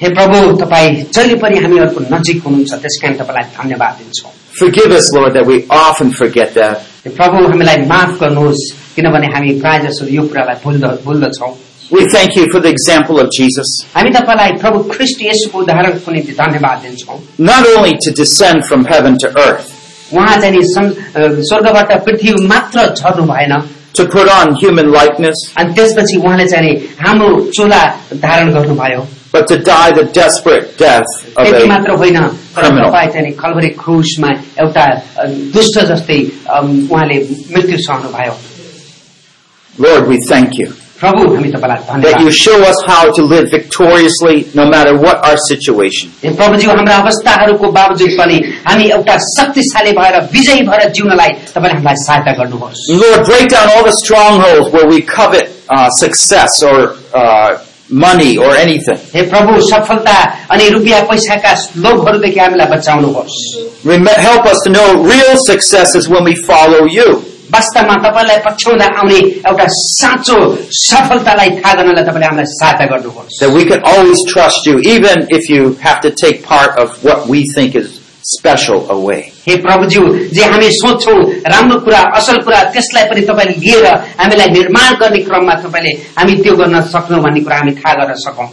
[SPEAKER 2] हे प्रभु तपाईँ जहिले पनि हामीहरूको नजिक हुनुहुन्छ त्यस कारण तपाईँलाई धन्यवाद दिन्छौँ
[SPEAKER 1] Forgive us, Lord, that we often forget that.
[SPEAKER 2] हे प्रभु हामीलाई माफ गर्नुहोस् किनभने हामी प्रायः जसो यो कुरालाई भुल्द भुल्दछौँ
[SPEAKER 1] We thank you for the example of Jesus,
[SPEAKER 2] हामी तपाईँलाई प्रभु ख्रिस्ट यसुको उदाहरणको निम्ति धन्यवाद दिन्छौँ
[SPEAKER 1] not only to descend from heaven to earth,
[SPEAKER 2] उहाँ चाहिँ नि सं- अ, स्वर्गबाट पृथ्वी मात्र झर्नु भएन
[SPEAKER 1] to put on human likeness,
[SPEAKER 2] अनि त्यसपछि उहाँले चाहिँ नि हाम्रो चोला धारण गर्नुभयो
[SPEAKER 1] but to die the desperate death of
[SPEAKER 2] त्यति
[SPEAKER 1] a
[SPEAKER 2] मात्र होइन तर
[SPEAKER 1] Criminal.
[SPEAKER 2] तपाईँ चाहिँ नि खलबरी क्रुसमा एउटा अ, दुष्ट जस्तै अम, उहाँले मृत्यु सहनुभयो
[SPEAKER 1] Lord, we thank you
[SPEAKER 2] प्रभु हामी तपाईँलाई
[SPEAKER 1] that you
[SPEAKER 2] धन्यवाद
[SPEAKER 1] show us how to live victoriously no matter what our situation.
[SPEAKER 2] हे प्रभुजी हाम्रा अवस्थाहरूको बावजुद पनि हामी एउटा शक्तिशाली भएर विजयी भएर जिउनलाई तपाईँले हामीलाई सहायता गर्नुहोस्
[SPEAKER 1] Lord, break down all the strongholds where we covet uh, success or uh, money or anything.
[SPEAKER 2] हे प्रभु सफलता अनि रुपियाँ पैसाका लोभहरूदेखि हामीलाई बचाउनुहोस्
[SPEAKER 1] Rem- help us to know real success is when we follow you.
[SPEAKER 2] वास्तवमा तपाईँलाई पछ्याउँदा आउने एउटा साँचो सफलतालाई थाहा गर्नलाई तपाईँले हामीलाई सहायता गर्नुहोस्
[SPEAKER 1] That we can always trust you, even if you have to take part of what we think is special away.
[SPEAKER 2] हे प्रभुज्यू जे हामी सोध्छौँ राम्रो कुरा असल कुरा त्यसलाई पनि तपाईँले लिएर हामीलाई निर्माण गर्ने क्रममा तपाईँले हामी त्यो गर्न सक्छौँ भन्ने कुरा हामी थाहा गर्न सकौँ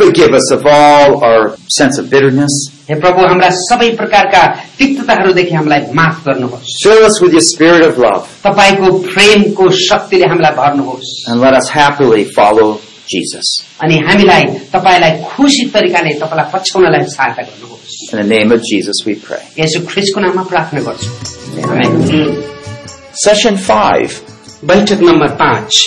[SPEAKER 1] Forgive us of all our sense of bitterness.
[SPEAKER 2] हे प्रभु हाम्रा सबै प्रकारका तिक्तताहरूदेखि हामीलाई माफ गर्नुहोस्
[SPEAKER 1] Fill us with your spirit of love
[SPEAKER 2] तपाईँको प्रेमको शक्तिले हामीलाई भर्नुहोस्
[SPEAKER 1] and let us happily follow Jesus.
[SPEAKER 2] अनि हामीलाई तपाईँलाई खुसी तरिकाले तपाईँलाई पछ्याउनलाई सहायता गर्नुहोस्
[SPEAKER 1] In the name of Jesus we pray.
[SPEAKER 2] यसो ख्रिसको नाममा प्रार्थना गर्छु
[SPEAKER 1] Amen. Session 5,
[SPEAKER 2] बैठक नम्बर पाँच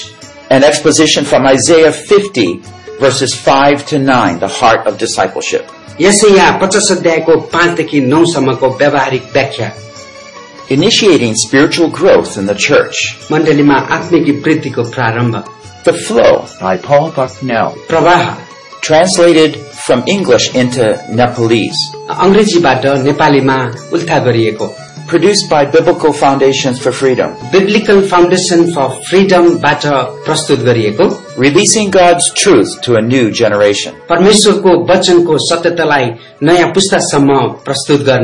[SPEAKER 1] an exposition from Isaiah 50 verses 5 to 9, the heart of discipleship.
[SPEAKER 2] यसै यहाँ पचास अध्यायको पाँचदेखि नौसम्मको व्यावहारिक व्याख्या
[SPEAKER 1] Initiating spiritual growth in the church.
[SPEAKER 2] मण्डलीमा आत्मिक वृद्धिको प्रारम्भ
[SPEAKER 1] The Flow by Paul Bucknell.
[SPEAKER 2] प्रवाह
[SPEAKER 1] Translated from English into Nepalese.
[SPEAKER 2] अंग्रेजीबाट नेपालीमा उल्था गरिएको
[SPEAKER 1] Produced by Biblical Foundations for Freedom.
[SPEAKER 2] Biblical Foundation for फ्रिडमबाट प्रस्तुत गरिएको
[SPEAKER 1] Releasing God's truth to a new generation.
[SPEAKER 2] परमेश्वरको वचनको सत्यतालाई नयाँ पुस्तासम्म प्रस्तुत गर्ने